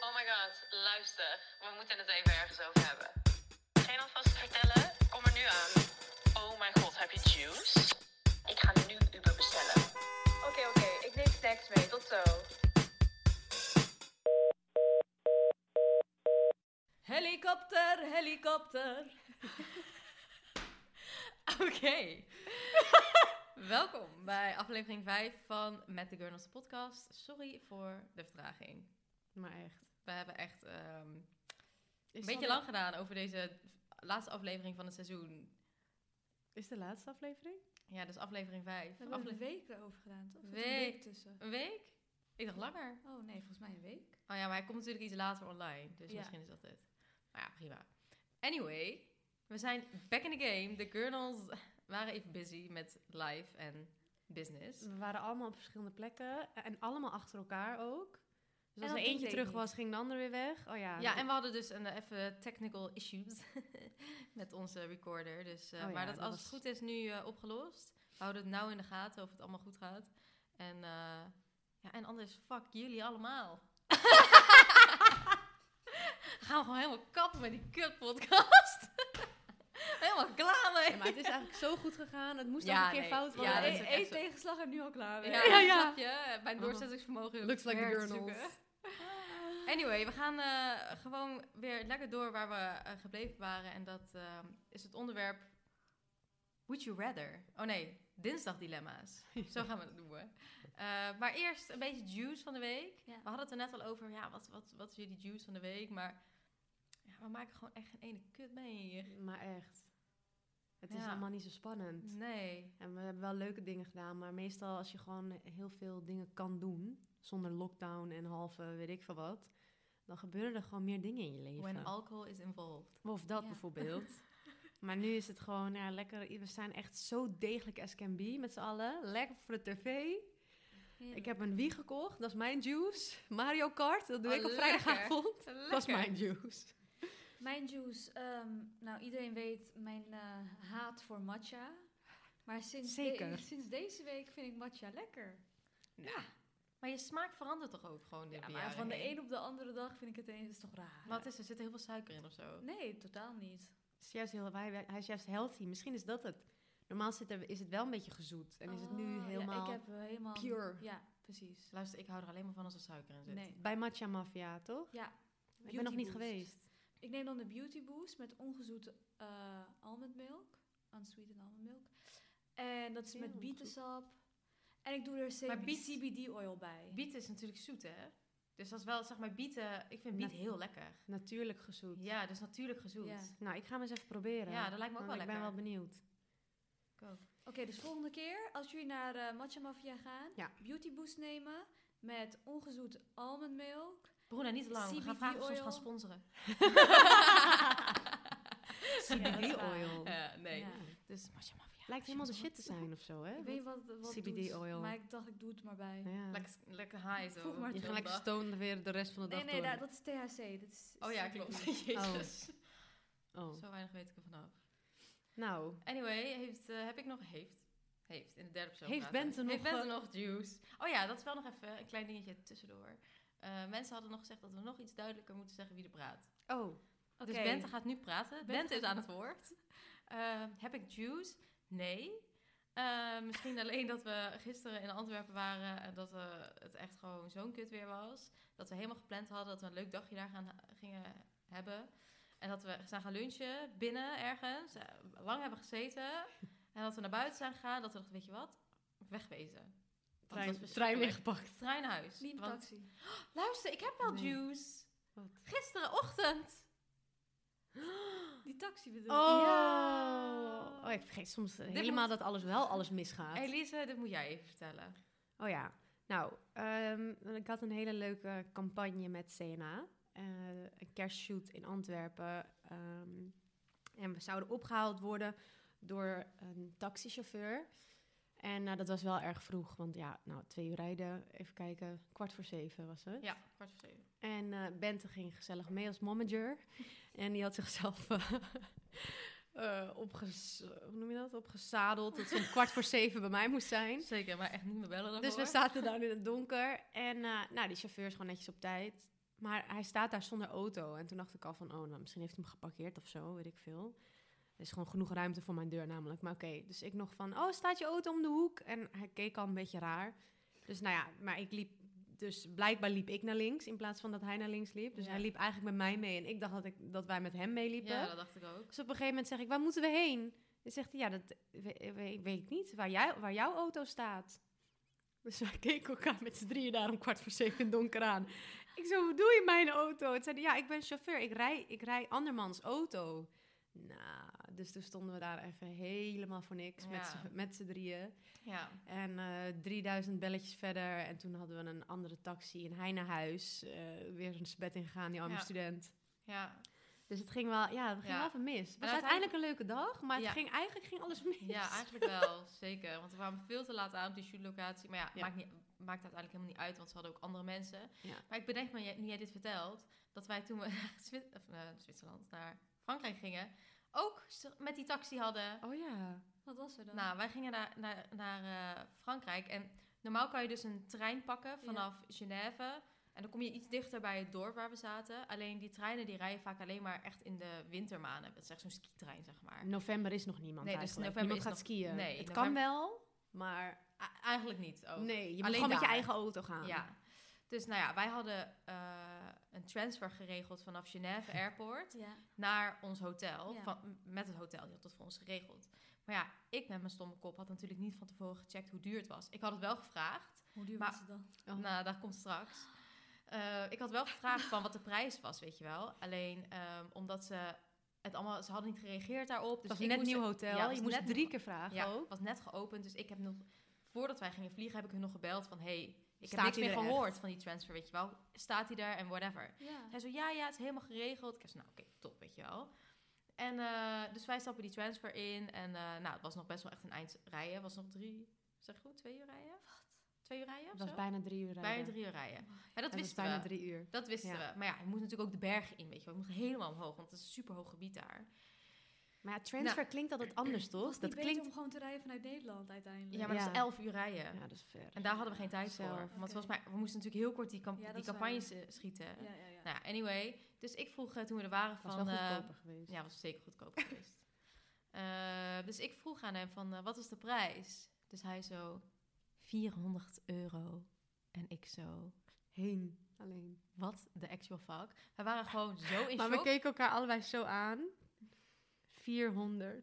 Oh my god, luister. We moeten het even ergens over hebben. Geen alvast vertellen? Kom er nu aan. Oh mijn god, heb je juice? Ik ga nu Uber bestellen. Oké, oké. Ik neem snacks mee. Tot zo. Helikopter, helikopter. Oké. Welkom bij aflevering 5 van Met de Gurnals de podcast. Sorry voor de vertraging. Maar echt. We hebben echt ehm, een beetje lang gedaan over deze laatste aflevering van het seizoen. Is de laatste aflevering? Ja, dus aflevering 5. We hebben er een Afle- week erover gedaan, toch? Er zat Week. Een week tussen. een week? Ik dacht langer. Oh nee, volgens mij een week. Oh ja, maar hij komt natuurlijk iets later online. Dus Ja. misschien is dat het. Maar ja, prima. Anyway, we zijn back in the game. De Gurnals waren even busy met live en business. We waren allemaal op verschillende plekken en allemaal achter elkaar ook. Dus als dat er doet eentje Dave terug niet. was, ging de ander weer weg. Oh ja. Ja, en we hadden dus een, eh, even technical issues met onze recorder. Dus, eh, Oh ja, maar dat, dat als het was- goed is nu eh, opgelost. We houden het nauw in de gaten of het allemaal goed gaat. En, eh, ja, en anders, fuck jullie allemaal. Gaan we gewoon helemaal kappen met die kutpodcast. helemaal klaar mee. Ja, maar het is eigenlijk zo goed gegaan. Het moest Ja, al een keer nee. fout Ja, worden. dat is Eén ook echt één zo. tegenslag en nu al klaar. weer. Ja, Ja, ja. ja. Snap je? Mijn doorzettingsvermogen Looks like weer the te Gurnals. zoeken. Anyway, we gaan eh, gewoon weer lekker door waar we eh, gebleven waren. En dat eh, is het onderwerp Would You Rather? Oh nee, dinsdagdilemma's. Zo gaan we het noemen. Eh, maar eerst een beetje juice van de week. Ja. We hadden het er net al over, ja, wat, wat, wat is jullie juice van de week? Maar ja, we maken gewoon echt geen ene kut mee hier. Maar echt. Het is Ja. allemaal niet zo spannend. Nee. En we hebben wel leuke dingen gedaan. Maar meestal als je gewoon heel veel dingen kan doen, zonder lockdown en halve weet ik veel wat, dan gebeuren er gewoon meer dingen in je leven. When alcohol is involved. Of dat Ja. bijvoorbeeld. Maar nu is het gewoon ja, lekker. We zijn echt zo degelijk as can be met z'n allen. Lekker voor de tv. Heerlijk. Ik heb een Wii gekocht, dat is mijn juice. Mario Kart, dat doe Oh, ik op lekker. vrijdagavond. Dat is Lekker. mijn juice. Mijn juice, ehm, nou iedereen weet mijn eh, haat voor matcha. Maar sinds, de- Zeker. sinds deze week vind ik matcha lekker. Ja. Maar je smaak verandert toch ook gewoon de Ja, jaren maar van de heen? een op de andere dag vind ik het ineens, dat is toch raar. Wat is er? Zit er heel veel suiker in of zo? Nee, totaal niet. Het is juist heel, hij, hij is juist healthy. Misschien is dat het. Normaal zit er, is het wel een beetje gezoet. En is het nu Oh, ja, helemaal... ik heb eh, helemaal... pure. Ja, precies. Luister, ik hou er alleen maar van als er suiker in zit. Nee. Bij Matcha Mafia, toch? Ja. ik ben nog niet Beauty Boost. geweest. Ik neem dan de Beauty Boost met ongezoete eh almondmilk. Unsweetened almondmilk. En dat is Heel met goed. bietensap. En ik doe er Maar CB- biet- CBD-oil bij. Bieten is natuurlijk zoet, hè? Dus dat is wel, zeg maar, bieten... Ik vind biet Nat- heel lekker. Natuurlijk gezoet. Ja, dus natuurlijk gezoet. Ja. Nou, ik ga hem eens even proberen. Ja, dat lijkt me ook Want wel Ik ben lekker. wel benieuwd. Ik ook. Oké, dus volgende keer als jullie naar eh Matcha Mafia gaan, Ja. Beauty Boost nemen met ongezoete almondmilk. Bruna, niet te lang. We gaan CBD vragen of ze ons oil. gaan sponsoren. CBD oil. Ja, nee. Ja. Dus Masha Mafia. Lijkt helemaal de Masha shit te zijn of zo, hè? Ik weet niet wat, wat het CBD doet, oil. maar ik dacht ik doe het maar bij. Ja. Mafia. Lekker, lekker high zo. Voeg maar Je Heel gaat lekker dag. stoned weer de rest van de dag Nee, nee, door. da- dat is THC. Dat is Oh ja, CBD. klopt. Jezus. Oh. Zo weinig weet ik er vanaf. Nou, Anyway, heeft, eh, heb ik nog... Heeft. Heeft, in de derde persoon. Heeft praten. Bente nog, Heeft Bente eh, nog juice? Oh ja, dat is wel nog even een klein dingetje tussendoor. Eh, mensen hadden nog gezegd dat we nog iets duidelijker moeten zeggen wie er praat. oh, Oké. Dus Bente gaat nu praten. Bente, Bente is gaat- aan het woord. Eh, heb ik juice? Nee. Eh, misschien alleen dat we gisteren in Antwerpen waren en dat eh, het echt gewoon zo'n kut weer was. Dat we helemaal gepland hadden dat we een leuk dagje daar gaan, gingen hebben. En dat we zijn gaan lunchen binnen ergens. eh, lang hebben gezeten. En dat we naar buiten zijn gegaan. Dat we dachten, weet je wat? Wegwezen. trein, dat was trein weer verschrikkelijk. gepakt. Trein naar huis. Niet Want- taxi. luister, ik heb wel Nee. juice. Wat? Gisterenochtend. Die taxi bedoel ik. Oh. Ja. oh, ik vergeet soms Dit helemaal moet- dat alles wel alles misgaat. Elise, dit moet jij even vertellen. Oh ja, nou, ehm, ik had een hele leuke campagne met CNA. Eh, een kerstshoot in Antwerpen. ehm, en we zouden opgehaald worden door een taxichauffeur. En nou, dat was wel erg vroeg, want ja, nou, twee uur rijden, even kijken, kwart voor zeven was het. Ja, kwart voor zeven. En eh, Bente ging gezellig mee als momager. En die had zichzelf eh eh, opges- hoe noem je dat? opgezadeld dat ze om kwart voor zeven bij mij moest zijn. Zeker, maar echt niet meer bellen Dus we zaten daar in het donker. En eh, nou, die chauffeur is gewoon netjes op tijd. Maar hij staat daar zonder auto. En toen dacht ik al van, oh, nou, misschien heeft hij hem geparkeerd of zo, weet ik veel. Er is gewoon genoeg ruimte voor mijn deur namelijk. Maar oké, dus ik nog van, oh, staat je auto om de hoek? En hij keek al een beetje raar. Dus nou ja, maar ik liep... Dus blijkbaar liep ik naar links in plaats van dat hij naar links liep. Dus Ja. hij liep eigenlijk met mij mee. En ik dacht dat, ik, dat wij met hem meeliepen. Ja, dat dacht ik ook. Dus op een gegeven moment zeg ik, waar moeten we heen? Dan zegt hij, ja, dat we- we- weet ik niet, waar, jij, waar jouw auto staat. Dus wij keken elkaar met z'n drieën daar om kwart voor zeven in het donker aan. Ik zo, hoe doe je mijn auto? Het zei hij, ja, ik ben chauffeur, ik rij, ik rij andermans auto. Nou, dus toen stonden we daar even helemaal voor niks met Ja. z'n- met z'n drieën. Ja. En eh, 3000 belletjes verder. En toen hadden we een andere taxi en hij naar huis. eh, weer een bed ingegaan, die arme Ja. student. Ja. Dus het ging wel, ja, het ging Ja. wel even mis. Het was uiteindelijk- uiteindelijk een leuke dag, maar het Ja. ging, eigenlijk ging alles mis. ja, eigenlijk wel. Zeker. Want we kwamen veel te laat aan op die shootlocatie. Maar ja, Ja. Maakt, niet, maakt uiteindelijk helemaal niet uit, want ze hadden ook andere mensen. Ja. Maar ik bedenk me, jij- nu jij dit vertelt, dat wij toen we naar Zwi- of, eh, Zwitserland, naar Frankrijk gingen, ook s- met die taxi hadden. Oh ja. Wat was er dan? Nou, wij gingen naar, naar, naar eh, Frankrijk. En normaal kan je dus een trein pakken vanaf Genève. En dan kom je iets dichter bij het dorp waar we zaten. Alleen die treinen die rijden vaak alleen maar echt in de wintermaanden. Dat is echt zo'n skitrein, zeg maar. November is nog niemand Nee, dus eigenlijk. november niemand gaat is nog- skiën. nee, het november- kan wel, maar A- eigenlijk niet ook. nee, je moet Alleen gewoon met je daar. eigen auto gaan. Ja. Dus nou ja, wij hadden eh, een transfer geregeld vanaf Genève Airport ja. naar ons hotel. Ja. Van, m- met het hotel, die had dat voor ons geregeld. Maar ja, ik met mijn stomme kop had natuurlijk niet van tevoren gecheckt hoe duur het was. Ik had het wel gevraagd. Hoe duur Maar- was het dan? Oh. Nou, dat komt straks. Eh, ik had wel gevraagd van wat de prijs was, weet je wel. Alleen ehm, omdat ze het allemaal, ze hadden niet gereageerd daarop. Het Dus was ik net moest- nieuw hotel, ja, het je was moest net drie nog- keer vragen Ja, ook. het was net geopend. Dus ik heb nog, voordat wij gingen vliegen, heb ik hun nog gebeld van hey, ik Staat heb niks hij meer er gehoord echt? van die transfer, weet je wel. Staat hij daar en whatever. Ja. Hij zo, ja, ja, het is helemaal geregeld. Ik zei, nou, oké, top, weet je wel. En eh, dus wij stappen die transfer in. En eh, nou, het was nog best wel echt een eind rijden. Het was nog drie, zeg ik goed, twee uur rijden? Twee uur rijden of Het was zo? bijna drie uur rijden. Bijna drie uur rijden. Oh. Maar dat Het was wisten bijna we. drie uur. Dat wisten Ja. we. Maar ja, je moet natuurlijk ook de bergen in, weet je wel. Je moet helemaal omhoog, want het is een superhoog gebied daar. Maar ja, Nou. transfer klinkt altijd anders, toch? Was het Dat niet beter klinkt... om gewoon te rijden vanuit Nederland uiteindelijk? Ja, maar Ja. dat is elf uur rijden. Ja, dat is ver. En daar hadden we geen tijd Zelf. voor. Want Oké. volgens mij, we moesten natuurlijk heel kort die, camp- Ja, dat die is waar. campagnes eh, schieten. ja, ja. ja. Nou ja, anyway. Dus ik vroeg eh, toen we er waren Het was van... wel eh, goedkoper geweest. Ja, was zeker goedkoop geweest. Eh, dus ik vroeg aan hem van, eh, wat is de prijs? Dus hij zo, 400 euro. En ik zo, Heen, alleen. wat the actual fuck? We waren gewoon zo in Maar we shock. keken elkaar allebei zo aan. 400.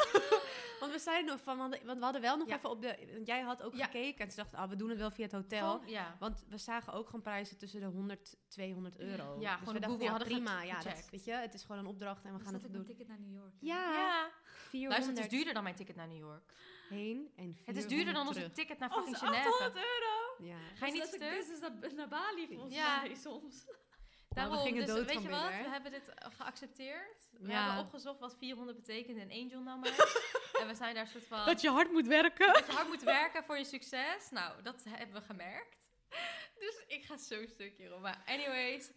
want we zeiden nog van, want we hadden wel nog Ja. even op de. Want jij had ook Ja. gekeken en ze dachten, ah, we doen het wel via het hotel. Gewoon- ja. want we zagen ook gewoon prijzen tussen de 100, 200 euro. Ja, gewoon dus we op dachten, Google ja, hadden we prima. het ja, dat, gecheckt. weet je, het is gewoon een opdracht en we Was gaan Dus dat het ook doen. een ticket naar New York. Ja, ja. 400 Luister, het is duurder dan mijn ticket naar New York. heen en 400 Het is duurder dan onze terug. ticket naar Oh, fucking dat is Genève. 800 euro! Ja. Ga je niet dat is stuk? business naar, naar Bali volgens Ja. mij soms. Daarom, we gingen dus dood weet van je binnen, wat? hè? We hebben dit eh, geaccepteerd. We Ja. hebben opgezocht wat 400 betekent in angel numbers. en we zijn daar soort van... Dat je hard moet werken. dat je hard moet werken voor je succes. Nou, dat hebben we gemerkt. Dus ik ga zo stuk hierom. Maar anyways,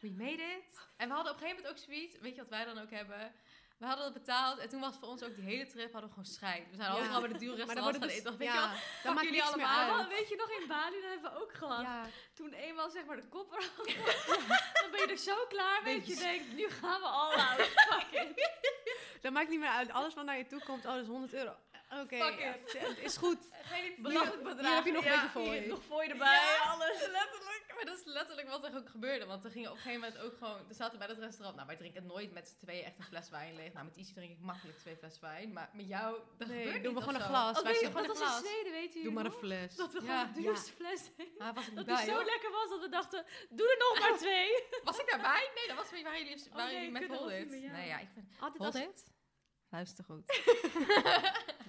we made it. En we hadden op een gegeven moment ook zoiets, weet je wat wij dan ook hebben? We hadden dat betaald en toen was voor ons ook die hele trip, hadden we gewoon scheid. We zijn Ja. overal bij de dure Maar dan restaurants gaan wordt het eten. dus, Weet je ja, wel, dan maakt jullie niks meer allemaal uit. Oh, weet je nog in Bali, dat hebben we ook gehad. Ja. Toen eenmaal zeg maar de kop eraf, dan ben je er zo klaar mee dat je denkt, nu gaan we al out. Fuck it. Dat maakt niet meer uit. Alles wat naar je toe komt, oh, dat is 100 euro. Oké, Fuck ja, het is goed. Ga je niet Belachelijk hier bedrag. heb je nog een ja, beetje fooi. Hier, nog fooi erbij. bij alles, letterlijk. Maar dat is letterlijk wat er ook gebeurde. Want we gingen op een gegeven moment ook gewoon... We zaten bij dat restaurant. Nou, wij drinken nooit met z'n tweeën echt een fles wijn leeg. Nou, met Isi drink ik makkelijk twee fles wijn. Maar met jou, dat Nee, gebeurt doen niet we gewoon of een zo. glas. Oh, Wij weet je, zeggen dat gewoon was een in glas. Zweden, weet je Doe maar een fles. Dat we gewoon Ja, de duurste fles deden. Ah, was ik Dat niet die bij, zo hoor. lekker was dat we dachten, doe er nog maar twee. Was ik daarbij? Nee, dat was waar jullie, Oh, waren nee, jullie met ik weet dat Hold was It. niet meer, ja. Nee, ja, ik vind... Altijd Hold als It? Luister goed.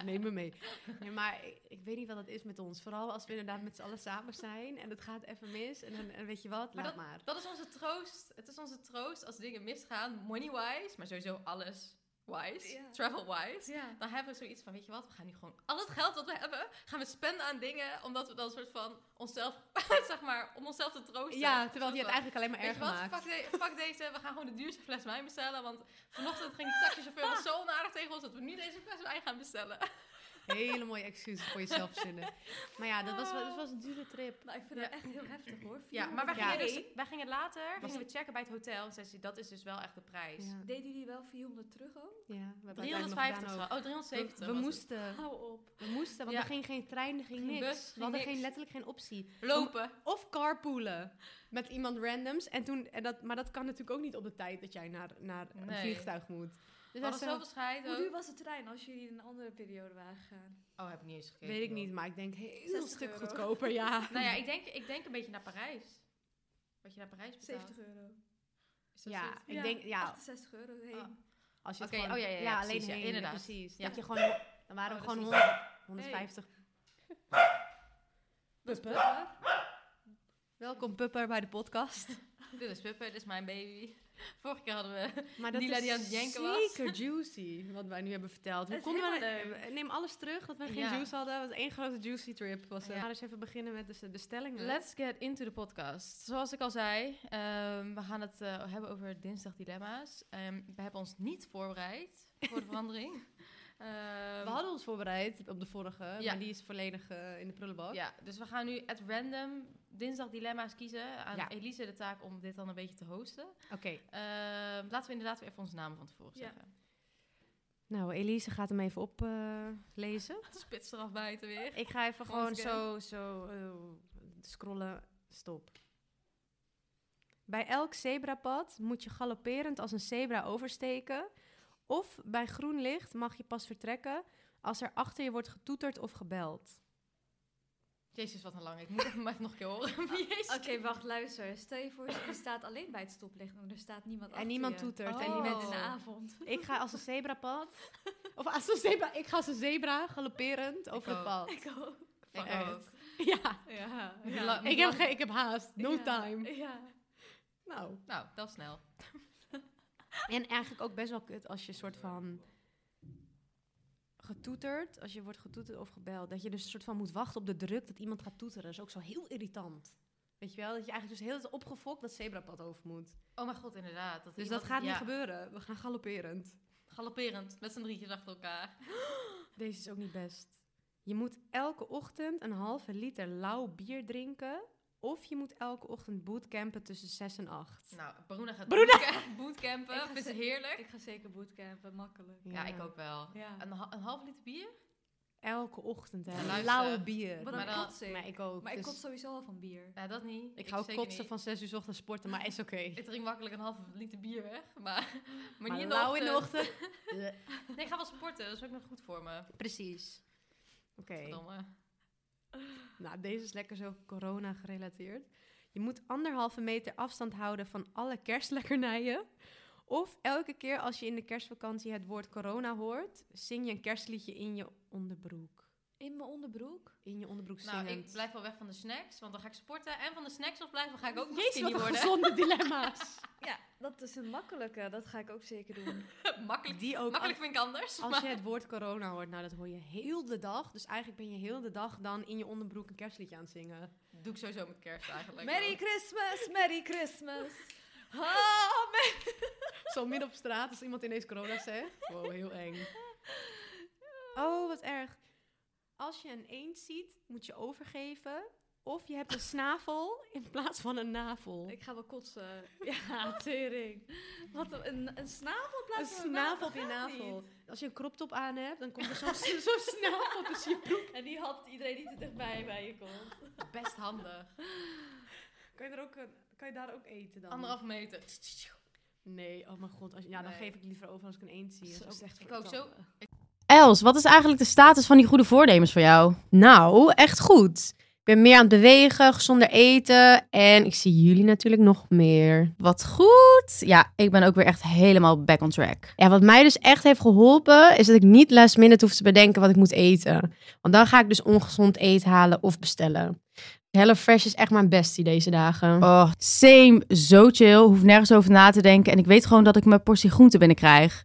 Neem me mee. Nee, maar ik, ik weet niet wat dat is met ons. Vooral als we inderdaad met z'n allen samen zijn en het gaat even mis. En, dan en weet je wat, Maar laat maar. Dat is onze troost. Het is onze troost als dingen misgaan. Money-wise, maar sowieso alles wise. Ja. Travel-wise. Ja. Dan hebben we zoiets van, weet je wat, we gaan nu gewoon al het geld dat we hebben, gaan we spenden aan dingen, omdat we dan soort van onszelf, zeg maar, om onszelf te troosten. Ja, terwijl die het Soort van, eigenlijk alleen maar Weet je erger wat, maakt. fuck, de- fuck deze, we gaan gewoon de duurste fles wijn bestellen, want vanochtend ging die taxichauffeur was zo onaardig tegen ons dat we nu deze fles wijn gaan bestellen. Hele mooie excuses voor jezelf verzinnen. Maar ja, dat was, wel- dat was een dure trip. Nou, ik vind Ja. dat echt heel heftig hoor. Ja, maar wij Ja. gingen, €400. dus, wij gingen later Was- gingen we checken bij het hotel. En zei ze, dat is dus wel echt de prijs. Ja, Deden jullie wel 400 terug ook? ja, we hebben uiteindelijk nog 350 gedaan zo. ook. Oh, 370 We, we was het. moesten, Hou op. we moesten, want Ja. er ging geen trein, er ging Geen niks. bus, we ging hadden niks. Geen, letterlijk geen optie. Lopen. Of carpoolen met iemand randoms. En toen, en dat, maar dat kan natuurlijk ook niet op de tijd dat jij naar, naar een Nee. vliegtuig moet. Dus We wij hadden zo- zoveel scheid Hoe ook. duur was de trein als jullie in een andere periode waren gegaan? Oh, heb ik niet eens gekeken. weet ik joh. niet, maar ik denk heel 60 stuk euro. goedkoper, ja. Nou ja, ik denk, ik denk een beetje naar Parijs. Wat je naar Parijs betaalt. 70 euro. Is dat Ja, zoiets? ik denk, ja, 68 euro heen. Ah. Als je het Oké, gewoon, oh ja, ja, ja, alleen precies, ja, heen, inderdaad. Precies. Ja. Dat je gewoon, dan waren we Oh, gewoon dat 100, 150. Pupper. Welkom Pupper bij de podcast. Dit is Pupper, dit is mijn baby. Vorige keer hadden we... Maar Nila die aan het janken was. zeker juicy, wat wij nu hebben verteld. Hoe Het is konden we, helemaal eh, neem alles terug, dat we geen Ja. juice hadden. Het was één grote juicy trip. Was, het. Ja. We gaan dus even beginnen met de, de stellingen. Let's get into the podcast. Zoals ik al zei, ehm, we gaan het eh, hebben over dinsdag dilemma's. Ehm, we hebben ons niet voorbereid voor de verandering. Ehm, we hadden ons voorbereid op de vorige, Ja. maar die is volledig eh, in de prullenbak. Ja, dus we gaan nu at random dinsdag dilemma's kiezen. Aan Ja. Elise de taak om dit dan een beetje te hosten. Oké, Ehm, laten we inderdaad weer even onze namen van tevoren Ja. zeggen. nou Elise gaat hem even oplezen. Spits eraf buiten weer. ik ga even gewoon Once zo, zo eh, scrollen. Stop. Bij elk zebrapad moet je galopperend als een zebra oversteken. Of bij groen licht mag je pas vertrekken als er achter je wordt getoeterd of gebeld. Jezus, wat een lang. Ik moet hem even nog een keer horen. Jezus. Oké, wacht, luister. Stel je voor, je staat alleen bij het stoplicht en er staat niemand En niemand doet toetert. Oh. En Niemand niemand in de avond. Ik ga als een zebrapad. Of als een zebra. Ik ga als een zebra galopperend over het ook. pad. Ik ook. Fuck echt. ook. Ja. Ja. Ja. La- Ik heb, ge- ik heb haast. No Ja, time. Ja. Nou. Nou, dat is snel. En eigenlijk ook best wel kut als je soort van getoeterd, als je wordt getoeterd of gebeld, dat je dus soort van moet wachten op de druk dat iemand gaat toeteren. Dat is ook zo heel irritant. Weet je wel, dat je eigenlijk dus heel hele tijd opgefokt dat zebrapad over moet. Oh mijn god, inderdaad. Dus iemand- dat gaat ja, niet gebeuren. We gaan galopperend. Galopperend, met z'n drietjes achter elkaar. Deze is ook niet best. Je moet elke ochtend een halve liter lauw bier drinken. Of je moet elke ochtend bootcampen tussen 6 en 8. Nou, Bruna gaat Bruna! bootcampen. bootcampen. Ik ga Vindt ze ze- heerlijk? Ik ga zeker bootcampen, makkelijk. Nou, Ja, ik ook wel. Ja. Een, ha- een half liter bier? Elke ochtend, Ja, hè. luister. Lauw bier. Wat Maar een dan- kotsen. maar ik ook. Maar ik dus- kom sowieso al van bier. Nou, dat niet. Ik ga ook zeker kotsen niet. van 6 uur 's ochtends sporten, maar is oké. Ik drink makkelijk een half liter bier weg. Maar, maar, Maar, niet in de lauw in de ochtend. ochtend. Nee, ik ga wel sporten. Dat is ook nog goed voor me. Precies. Oké. Verdomme. Nou, deze is lekker zo corona gerelateerd. Je moet anderhalve meter afstand houden van alle kerstlekkernijen. Of elke keer als je in de kerstvakantie het woord corona hoort, zing je een kerstliedje in je onderbroek. In mijn onderbroek? In je onderbroek zingen. Nou, ik blijf wel weg van de snacks, want dan ga ik sporten. En van de snacks afblijven ga ik ook nog Jezus, wat skinny een worden. gezonde dilemma's. Ja, dat is een makkelijke. Dat ga ik ook zeker doen. makkelijk, Die ook. makkelijk vind ik anders. Als maar- je het woord corona hoort, nou dat hoor je heel de dag. Dus eigenlijk ben je heel de dag dan in je onderbroek een kerstliedje aan het zingen. Doe ik sowieso met kerst eigenlijk. Merry Christmas, Merry Christmas. Oh, man. Zo midden op straat als iemand ineens corona zegt. Wow, heel eng. Oh, wat erg. Als je een eend ziet, moet je overgeven. Of je hebt een snavel in plaats van een navel. Ik ga wel kotsen. Ja, tering. Wat een- een, een snavel in Een plaats van snavel op je navel gaat navel. Als je een crop top aan hebt, dan komt er zo'n zo'n snavel tussen je broek. niet. En die hapt iedereen die te dichtbij bij je komt. Best handig. Kan je, er ook eh, een- kan je daar ook eten dan? Anderhalf meter. Nee, oh mijn god. Als je- ja, dan Nee. geef ik liever over als ik een eend zie. Dat is Zo ook slecht Ik ook zo. Els, wat is eigenlijk de status van die goede voornemens voor jou? Nou, echt goed. Ik ben meer aan het bewegen, gezonder eten. En ik zie jullie natuurlijk nog meer. Wat goed. Ja, ik ben ook weer echt helemaal back on track. Ja, wat mij dus echt heeft geholpen, is dat ik niet last minute hoef te bedenken wat ik moet eten. Want dan ga ik dus ongezond eten halen of bestellen. HelloFresh is echt mijn bestie deze dagen. Oh, same, zo chill, hoef nergens over na te denken en ik weet gewoon dat ik mijn portie groente binnenkrijg.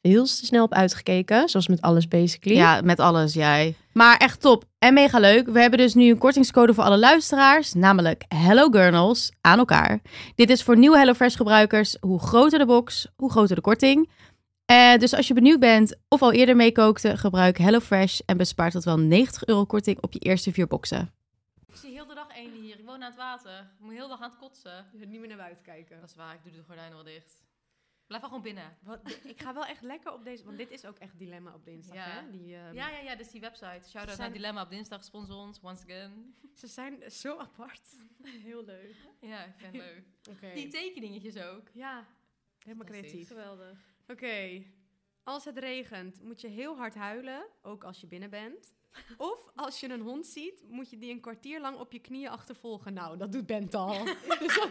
heel te snel op uitgekeken. Zoals met alles basically. Ja, met alles, jij. Maar echt top en mega leuk. We hebben dus nu een kortingscode voor alle luisteraars, namelijk Hello Gurnals aan elkaar. Dit is voor nieuwe HelloFresh gebruikers. Hoe groter de box, hoe groter de korting. Eh, dus als je benieuwd bent of al eerder meekookte, gebruik HelloFresh en bespaart tot wel 90 euro korting op je eerste vier boxen. Ik zie heel de dag één hier. Ik woon aan het water. Ik moet heel de dag aan het kotsen. Niet meer naar buiten kijken. Dat is waar. Ik doe de gordijnen wel dicht. Blijf wel gewoon binnen. ik ga wel echt lekker op deze... Want dit is ook echt dilemma op dinsdag, Ja. hè? Die, ehm, Ja, ja, ja. Dit is die website. Shout out Zijn- naar Dilemma op dinsdag. Sponsor ons. Once again. Ze zijn zo apart. Heel leuk. Ja, ik vind het leuk. Oké. Die tekeningetjes ook. Ja, helemaal creatief. Oké, Geweldig. als het regent moet je heel hard huilen, ook als je binnen bent. Of als je een hond ziet, moet je die een kwartier lang op je knieën achtervolgen. Nou, dat doet Bent al. dus dan Ik die wou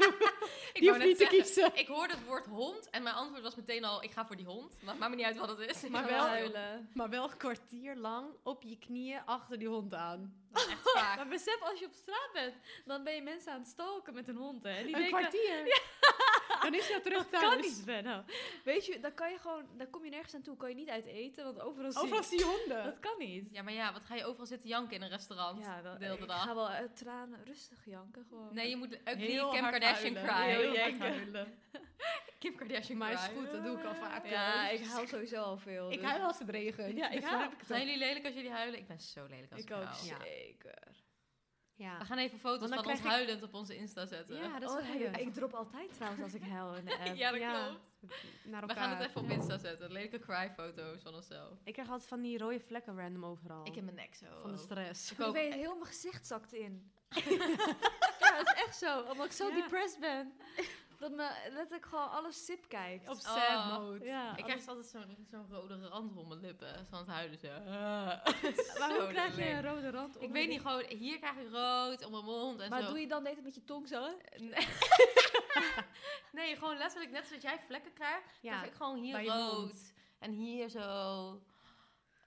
hoeft net niet te zeggen, kiezen. Ik hoorde het woord hond en mijn antwoord was meteen al, ik ga voor die hond. Maar maakt me niet uit wat het is. Ik Maar ga wel- huilen. Maar wel een kwartier lang op je knieën achter die hond aan. Dat is echt vaak. Maar besef, als je op straat bent, dan ben je mensen aan het stalken met een hond, hè? En Die een denken, kwartier? Dan is hij terug thuis. kan niet, Benno. Weet je, dan kan je gewoon, dan kom je nergens aan toe. Kan je niet uit eten, want overal zie je- Overal zie je honden. Dat kan niet. Ja, maar ja, wat ga je overal zitten janken in een restaurant? wel, de hele ik dag. ga wel uit tranen rustig janken gewoon. Nee, je moet ugly Kim Kardashian cry. Heel Ja, hard huilen. Kim Kardashian Maar cry. is goed, dat doe ik al vaker. Ja, ik huil sowieso al veel. Ik dus- huil als het regent. Ja, ik Dus dan huil. heb het Zijn ook. jullie lelijk als jullie huilen? Ik ben zo lelijk als ik, Ik ook, huil. Ja. zeker. We Ja. gaan even foto's Want dan van ons krijg ik- huilend op onze Insta zetten. Ja, dat is Oh, wel ik, leuk. ik drop altijd trouwens als ik huil in de app. Ja, dat Ja. klopt. Naar We elkaar. gaan het even op Insta zetten. Lelijke cry foto's van onszelf. Ik krijg altijd van die rode vlekken random overal. Ik heb Oh. mijn nek zo. Oh. van de stress. Ik Ik ook. weet, heel mijn gezicht zakt in. ja, dat is echt zo. Omdat ik zo Ja. depressed ben. Dat me letterlijk gewoon alles sip kijkt. Op Oh. sad mode. ja. Ik krijg altijd zo'n zo'n rode rand rond mijn lippen. Zo aan het huilen zo. maar Zo hoe krijg je lelijk. een rode rand Ik onder weet je- niet, gewoon hier krijg ik rood op mijn mond en Maar zo. doe je dan deed met je tong zo? Nee. nee, gewoon letterlijk net zoals jij vlekken krijgt, Ja. krijg ik gewoon bij hier je rood. En hier zo.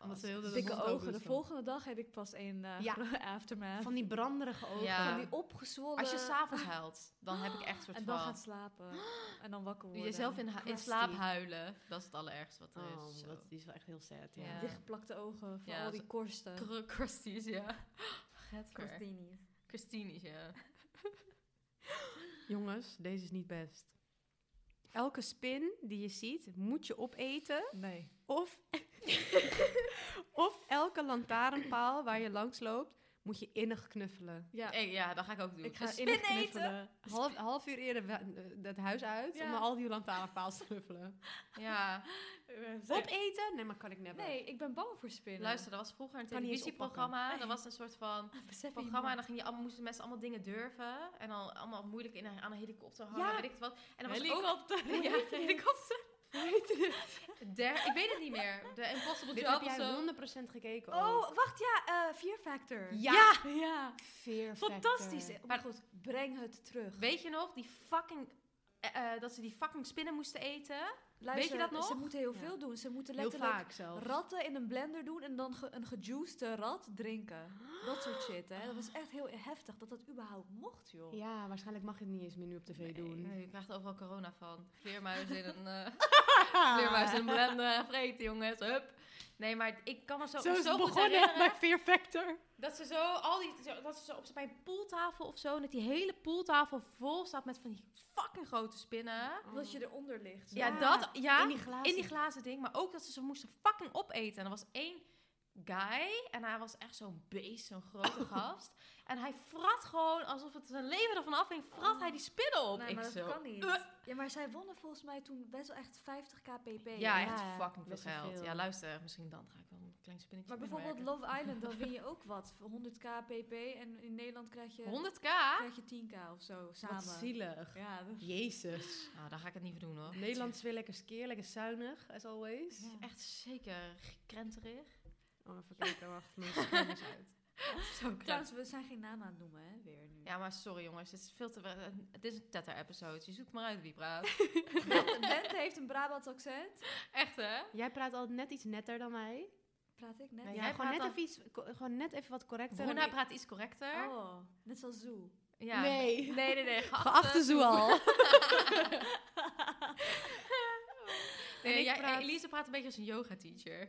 Omdat ze Oh, heel de Dikke mond open ogen. is De dan. volgende dag heb ik pas een eh, Ja. gro- aftermath. Van die branderige ogen. Ja. Van die opgezwollen. Als je s'avonds huilt, dan heb ik echt soort En van... dan gaat slapen. En dan wakker worden. Jezelf in, ha- in crusty. slaap huilen, dat is het allerergste wat er is. Oh, zo. dat, die is wel echt heel sad. Ja. Ja. Dichtgeplakte ogen. Van Ja, al zo- die korsten. Kru- Crusties, ja. Getver. Korstini's. Christinies, ja. Jongens, deze is niet best. Elke spin die je ziet, moet je opeten. Nee. Of, of elke lantaarnpaal waar je langs loopt, moet je innig knuffelen. Ja. Hey, ja, dat ga ik ook doen. Ik ga Spin innig eten! knuffelen. Half, half uur eerder we- het huis uit Ja. om al die lantaarnpaals te knuffelen. Ja. Opeten? Nee, maar kan ik never. Nee, ik ben bang voor spinnen. Luister, dat was vroeger een Kan niet eens televisieprogramma. Dat was een soort van Besef je programma. En iemand- dan ging je allemaal, moesten mensen allemaal dingen durven. En dan allemaal moeilijk in een, aan een helikopter hangen. Ja. Weet ik het wat. En dan was helikopter. Ook, ja, heet het? helikopter. Der, ik weet het niet meer. De Impossible Dit Job heb of zo. jij 100% gekeken. ook. Oh, wacht, ja. eh Fear Factor. Ja. Ja. Fear Factor. Fantastisch. Oh, Maar- maar goed, breng het terug. Weet je nog? Die fucking... eh, eh, dat ze die fucking spinnen moesten eten. Luister, weet je dat Ze nog? moeten heel Ja. veel doen. Ze moeten Heel letterlijk vaak zelfs. ratten in een blender doen en dan ge- een gejuicede rat drinken. Dat soort shit, hè. Dat was echt heel heftig dat dat überhaupt mocht, joh. Ja, waarschijnlijk mag je het niet eens meer nu op tv doen. Nee, je krijgt overal corona van. Vleermuis in een... eh, Ah. vleermuis in een blender. en Vreten, jongens. Hup. Nee, maar ik kan me zo, Zo is zo het goed begonnen herinneren. bij Fear Factor. Dat ze zo, al die, zo- dat ze zo op bij een poeltafel of zo, en dat die hele poeltafel vol staat met van die fucking grote spinnen. Omdat Oh. je eronder ligt. Ja, Ja, dat, ja, in die, Ah, glazen. glazen ding, maar ook dat ze ze moesten fucking opeten. En er was één guy, en hij was echt zo'n beest, zo'n grote gast. En hij frat gewoon, alsof het zijn leven ervan afhing, frat hij die spinnen op. Nee, Ik Nou, maar dat zo, kan niet. "Uh." Ja, maar zij wonnen volgens mij toen best wel echt 50 kpp. ja, echt Ja, fucking veel best wel geld. veel. Ja, luister, misschien dan ga ik wel een klein spinnetje Maar bijvoorbeeld binnenwerken. Love Island, dan win je ook wat. voor 100 kpp en in Nederland krijg je, 100k? krijg je 10k of zo samen. Wat zielig. Ja, dat Jezus. Nou, daar ga ik het niet voor doen hoor. Nederland is weer lekker skeer, lekker zuinig, as always. Ja. Echt zeker krenterig. Oh, even kijken, wacht. Mijn scherm is uit. Zo Trouwens, we zijn geen naam aan het noemen, hè, weer nu. Ja, maar sorry jongens, het is veel te. eh, Het is een tetter-episode. Je zoekt maar uit wie praat. Bent, Bent heeft een Brabants accent. Echt hè? Jij praat altijd net iets netter dan mij. Praat ik net? Ja, jij gewoon, praat net dan- even iets, co- gewoon net even wat correcter. Bruna praat iets correcter. Oh, net zoals Zoe. Ja. Nee. Nee, nee, nee. Geachte, Geachte Zoal. Nee, En ik jij, praat- Elise praat een beetje als een yoga teacher.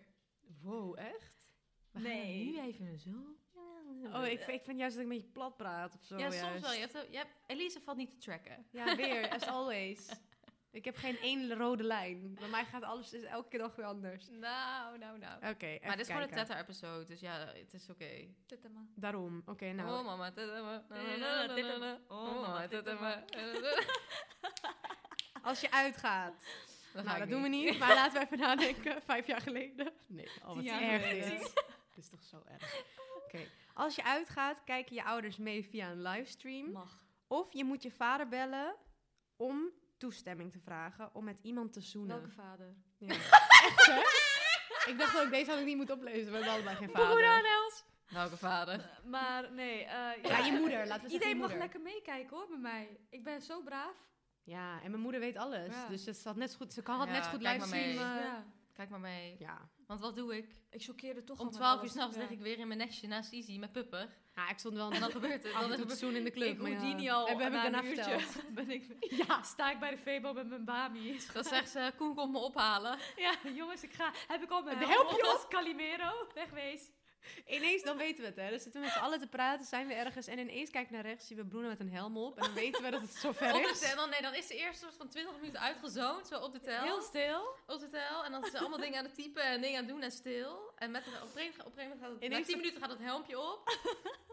Wow, echt? We gaan Nee. het nu even zo. Oh, ik, ik vind juist dat ik een beetje plat praat of zo. ja, soms juist. wel. Je hebt, je hebt- Elise valt niet te tracken. Ja, weer, as always. Ik heb geen één rode lijn. Bij mij gaat alles is elke keer dag weer anders. Nou, nou, nou. Oké, even maar dit is gewoon een kijken. Teta-episode, dus ja, het is oké. Tetema. Daarom, oké, nou. Oh mama, Teta. Teta. Oh Nou, mama, Teta. Als je uitgaat. nou, dat doen we niet. Maar laten we even nadenken. Vijf jaar geleden. Nee, al wat jaar erg geleden. dit. Dit is toch zo erg. Oké. Als je uitgaat, kijken je ouders mee via een livestream. Mag. Of je moet je vader bellen om toestemming te vragen om met iemand te zoenen. Welke vader? Ja. Echt, hè? Ik dacht ook, deze had ik niet moeten oplezen. We hebben allebei geen vader. Welke vader? Eh, maar nee. eh, Ja, je moeder. Laten we zeggen je Iedereen mag moeder. lekker meekijken hoor, bij mij. Ik ben zo braaf. Ja, en mijn moeder weet alles. Ja. Dus ze had net zo goed, ze kan- had Ja, net zo goed kijk maar livestream. mee. eh, ja. Kijk maar mee. ja. Want wat doe ik? Ik choqueerde toch al Om oh met 12 uur alles. s'nachts Ja. lig ik weer in mijn nestje naast Izzy met Pupper. ja, ik stond wel En een dan gebeurt het. af en Dan toe gebeurt te zoenen in de club. ik maar hoef ja. die niet al. Heb- heb na ik een daarna uurtje. verteld. Ben ik, Ja. sta ik bij de Febo met mijn Bami. Dan zegt ze, Koen komt me ophalen. Ja, jongens, ik ga. Heb ik al mijn Help helm je op als Calimero? Wegwees. Ineens, dan weten we het, hè. Dan zitten we met z'n allen te praten, zijn we ergens. En ineens kijk ik naar rechts, zien we Bruno met een helm op. En dan weten we dat het zover Op de is. tel, nee, dan is ze eerst soort van 20 minuten uitgezoond, zo op de tel. Heel stil. op de tel. En dan is ze allemaal dingen aan het typen en dingen aan het doen en stil. En met, een- op, een gegeven, op een gegeven moment gaat het, Ineens na 10 dat- minuten gaat het helmpje op.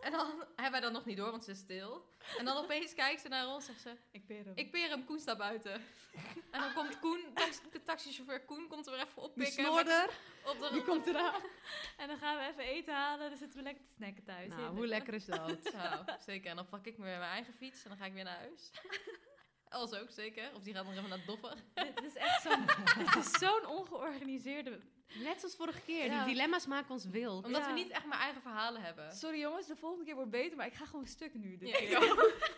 en dan hebben wij dat nog niet door, want ze is stil. En dan opeens kijkt ze naar ons en zegt ze, Ik ben hem. ik peer hem, Koen staat buiten. en dan komt Koen, tax- de taxichauffeur Koen, komt er weer even Die oppikken. snorder, met- Op de, die komt eraan. En dan gaan we even eten halen. Dan zitten we lekker te snacken thuis. Nou, Heerlijk. hoe lekker is dat? Zo, zeker. En dan pak ik me weer mijn eigen fiets en dan ga ik weer naar huis. Els ook, zeker. Of die gaat nog even naar het doffer. Dit is echt zo'n dit is zo'n ongeorganiseerde... Net zoals vorige keer. Ja. Die dilemma's maken ons wild. Omdat Ja. we niet echt mijn eigen verhalen hebben. Sorry jongens, de volgende keer wordt beter, maar ik ga gewoon stuk nu. Dit Ja, keer. ik ook.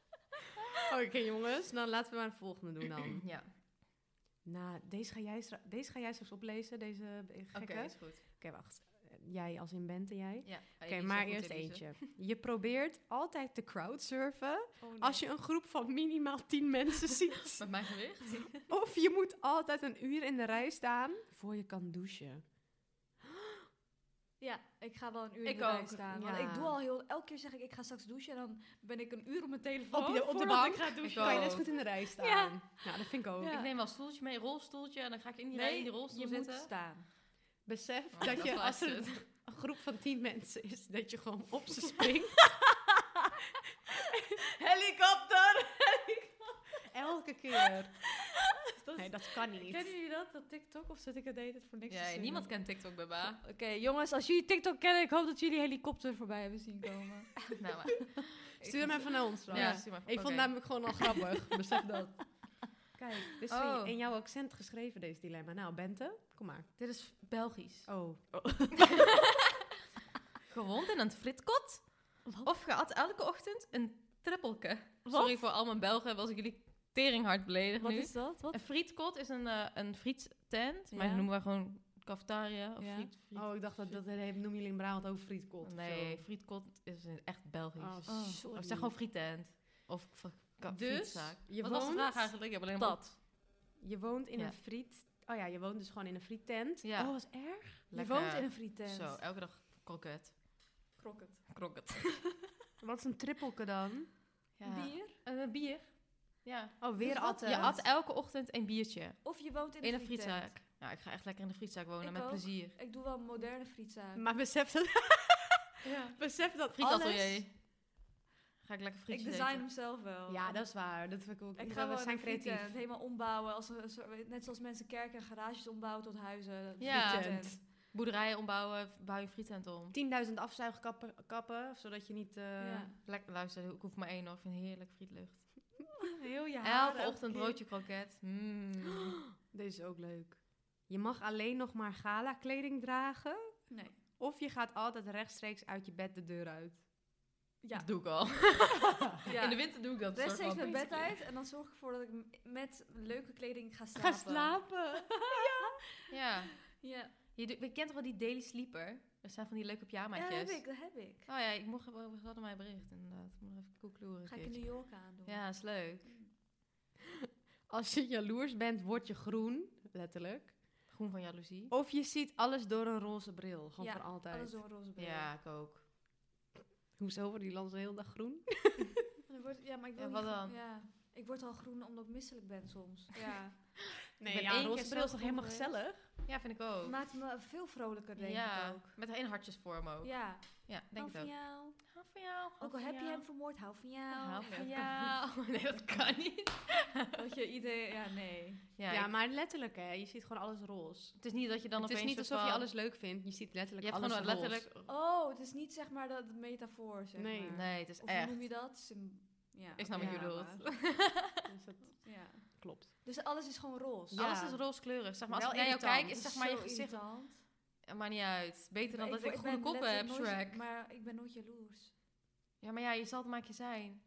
Oké, jongens. Dan laten we maar een volgende doen dan. Ja, Nou, deze ga jij, stra- deze ga jij straks oplezen, deze gekke. oké, Oké, is goed. wacht. Jij als in Bente, jij. Ja, Oké, maar eerst eentje. Je probeert altijd te crowdsurfen Oh, nee. als je een groep van minimaal 10 mensen ziet. Met mijn gewicht? Of je moet altijd een uur in de rij staan voor je kan douchen. Ja, ik ga wel een uur in Ik de rij ook, staan. Want ja. ik doe al heel... Elke keer zeg ik, ik ga straks douchen. En dan ben ik een uur op mijn telefoon Op je- op de voordat bank? ik ga douchen. Ik Kan je ook. net zo goed in de rij staan? Nou, dat vind ik ook. Ja. Ik neem wel een stoeltje mee, een rolstoeltje. En dan ga ik in die, rij, in die rolstoel je zitten. moet staan. Besef Oh, dat, dat je, laat als er zitten. een- een groep van 10 mensen is, dat je gewoon op ze springt. Helikopter! Elke keer. Dat Nee, dat kan Kennen niet. jullie dat, dat TikTok? Of zit ik het de hele tijd voor niks Ja, te zingen? niemand kent TikTok bij Ba. Oké, jongens, als jullie TikTok kennen, ik hoop dat jullie helikopter voorbij hebben zien komen. nou, maar. Stuur hem even naar ons. Ja, Ram. stuur maar. Ik vond het Oké. namelijk gewoon al grappig. Besef dat. Kijk, dit is Oh. in jouw accent geschreven, deze dilemma. Nou, Bente, kom maar. Dit is Belgisch. Oh. Gewond in een fritkot? Of geat elke ochtend een trippelke? Sorry voor al mijn Belgen, was ik jullie teringhard beledigd Wat nu. is dat? Wat? Een frietkot is een, eh een friettent, maar Ja. die noemen we gewoon cafetaria of Ja. friet. friet- Oh, ik dacht dat, dat noemen jullie in Brabant ook frietkot. of nee, zo. frietkot is een- echt Belgisch. Oh, Oh. sorry. Of zeg gewoon frietent. Of fr- ka- Dus, frietzaak. je Wat was de woont- vraag eigenlijk? Ik heb alleen maar- Dat. Je woont in Ja. een friet... Oh ja, je woont dus gewoon in een friettent. Ja. Oh, was erg. Lekker. Je woont in een frietent. Zo, elke dag kroket. Krokket. Kroket. Wat is een trippelke dan? Bier. Eh, Een bier. Ja. eh, Oh, weer Dus wat- atten. Je at elke ochtend een biertje. Of je woont in, In een friettent. frietzaak. Ja, ik ga echt lekker in de frietzaak wonen, Ik met ook. plezier. Ik doe wel een moderne frietzaak. Maar besef dat, Ja. besef dat alles... Frietatelier. Ga ik lekker Ik frietjes design eten. hem zelf wel. Ja, dat is waar. Dat vind ik ook... Oh. Ik dat- ga we wel zijn zijn creatief. creatief. helemaal ombouwen. Als een soort- net zoals mensen kerken en garages ombouwen tot huizen. Ja. Frietent. Boerderijen ombouwen, bouw je een frietent om. 10.000 afzuigkappen, kappen, zodat je niet... eh, Ja. Lekker, luister, ik hoef maar één hoor. Ik vind heerlijk frietlucht. Heel ja. Elke ochtend broodje kroket. Mm. Deze is ook leuk. Je mag alleen nog maar gala kleding dragen. Nee. Of je gaat altijd rechtstreeks uit je bed de deur uit. Ja. Dat doe ik al. Ja. In de winter doe ik dat. soort Rechtstreeks van mijn bed basically. uit en dan zorg ik ervoor dat ik m- met leuke kleding ga slapen. Ga slapen. Ja. Ja. Je, doet- je kent toch wel die Daily Sleeper? Er zijn van die leuke pyjamaatjes. Ja, dat heb ik, dat heb ik. Oh ja, ik mocht, we hadden mij bericht inderdaad. Ik moet nog even koekloeren. Ga ik in New York aandoen. Ja, is leuk. Als je jaloers bent, word je groen, letterlijk. Groen van Oh, jaloezie. Of je ziet alles door een roze bril, gewoon Ja, voor altijd. Alles door Oh, een roze bril. Ja, ik ook. Hoezo wordt die land de hele dag groen? Dan word- ja, maar ik wil Ja, niet wat groen- dan? Ja. Ik word al groen omdat ik misselijk ben soms. Ja. Nee, ben ja, één een roze keer bril is zelf toch helemaal geweest. gezellig? Ja, vind ik ook. Maakt me veel vrolijker, Nou, denk Oh. ja, ik ook. met een hartjesvorm ook. Ja, Ja, denk hou ik van ook. jou. Hou van jou. hou Ook al van heb je jou. hem vermoord, hou van jou. Hou van jou. jou. Nee, dat kan niet. Dat je idee... Ja, nee. Ja, Ja, ik- maar letterlijk hè, je ziet gewoon alles roze. het is niet dat je dan het opeens... is niet soort alsof je van- alles leuk vindt, je ziet Je letterlijk hebt alles gewoon roze. letterlijk... Oh, het is niet zeg maar dat dat metafoor, zeg Nee. maar. Nee, het is Of hoe echt... noem je dat? Sym- ja, Ik snap wat Ja, je bedoelt. Dus dat maar- Ja. klopt. Dus alles is gewoon roze. Ja. Alles is rooskleurig. Zeg maar, als Wel ik naar jou irritant. kijk, is Dat zeg maar je zo gezicht... irritant. Eh, Maakt niet uit. Beter dan Maar dat ik, word- groene ben koppen heb, letterlijk nooit- Shrek. Maar ik ben nooit jaloers. Ja, maar ja, je zal het maar een keer zijn.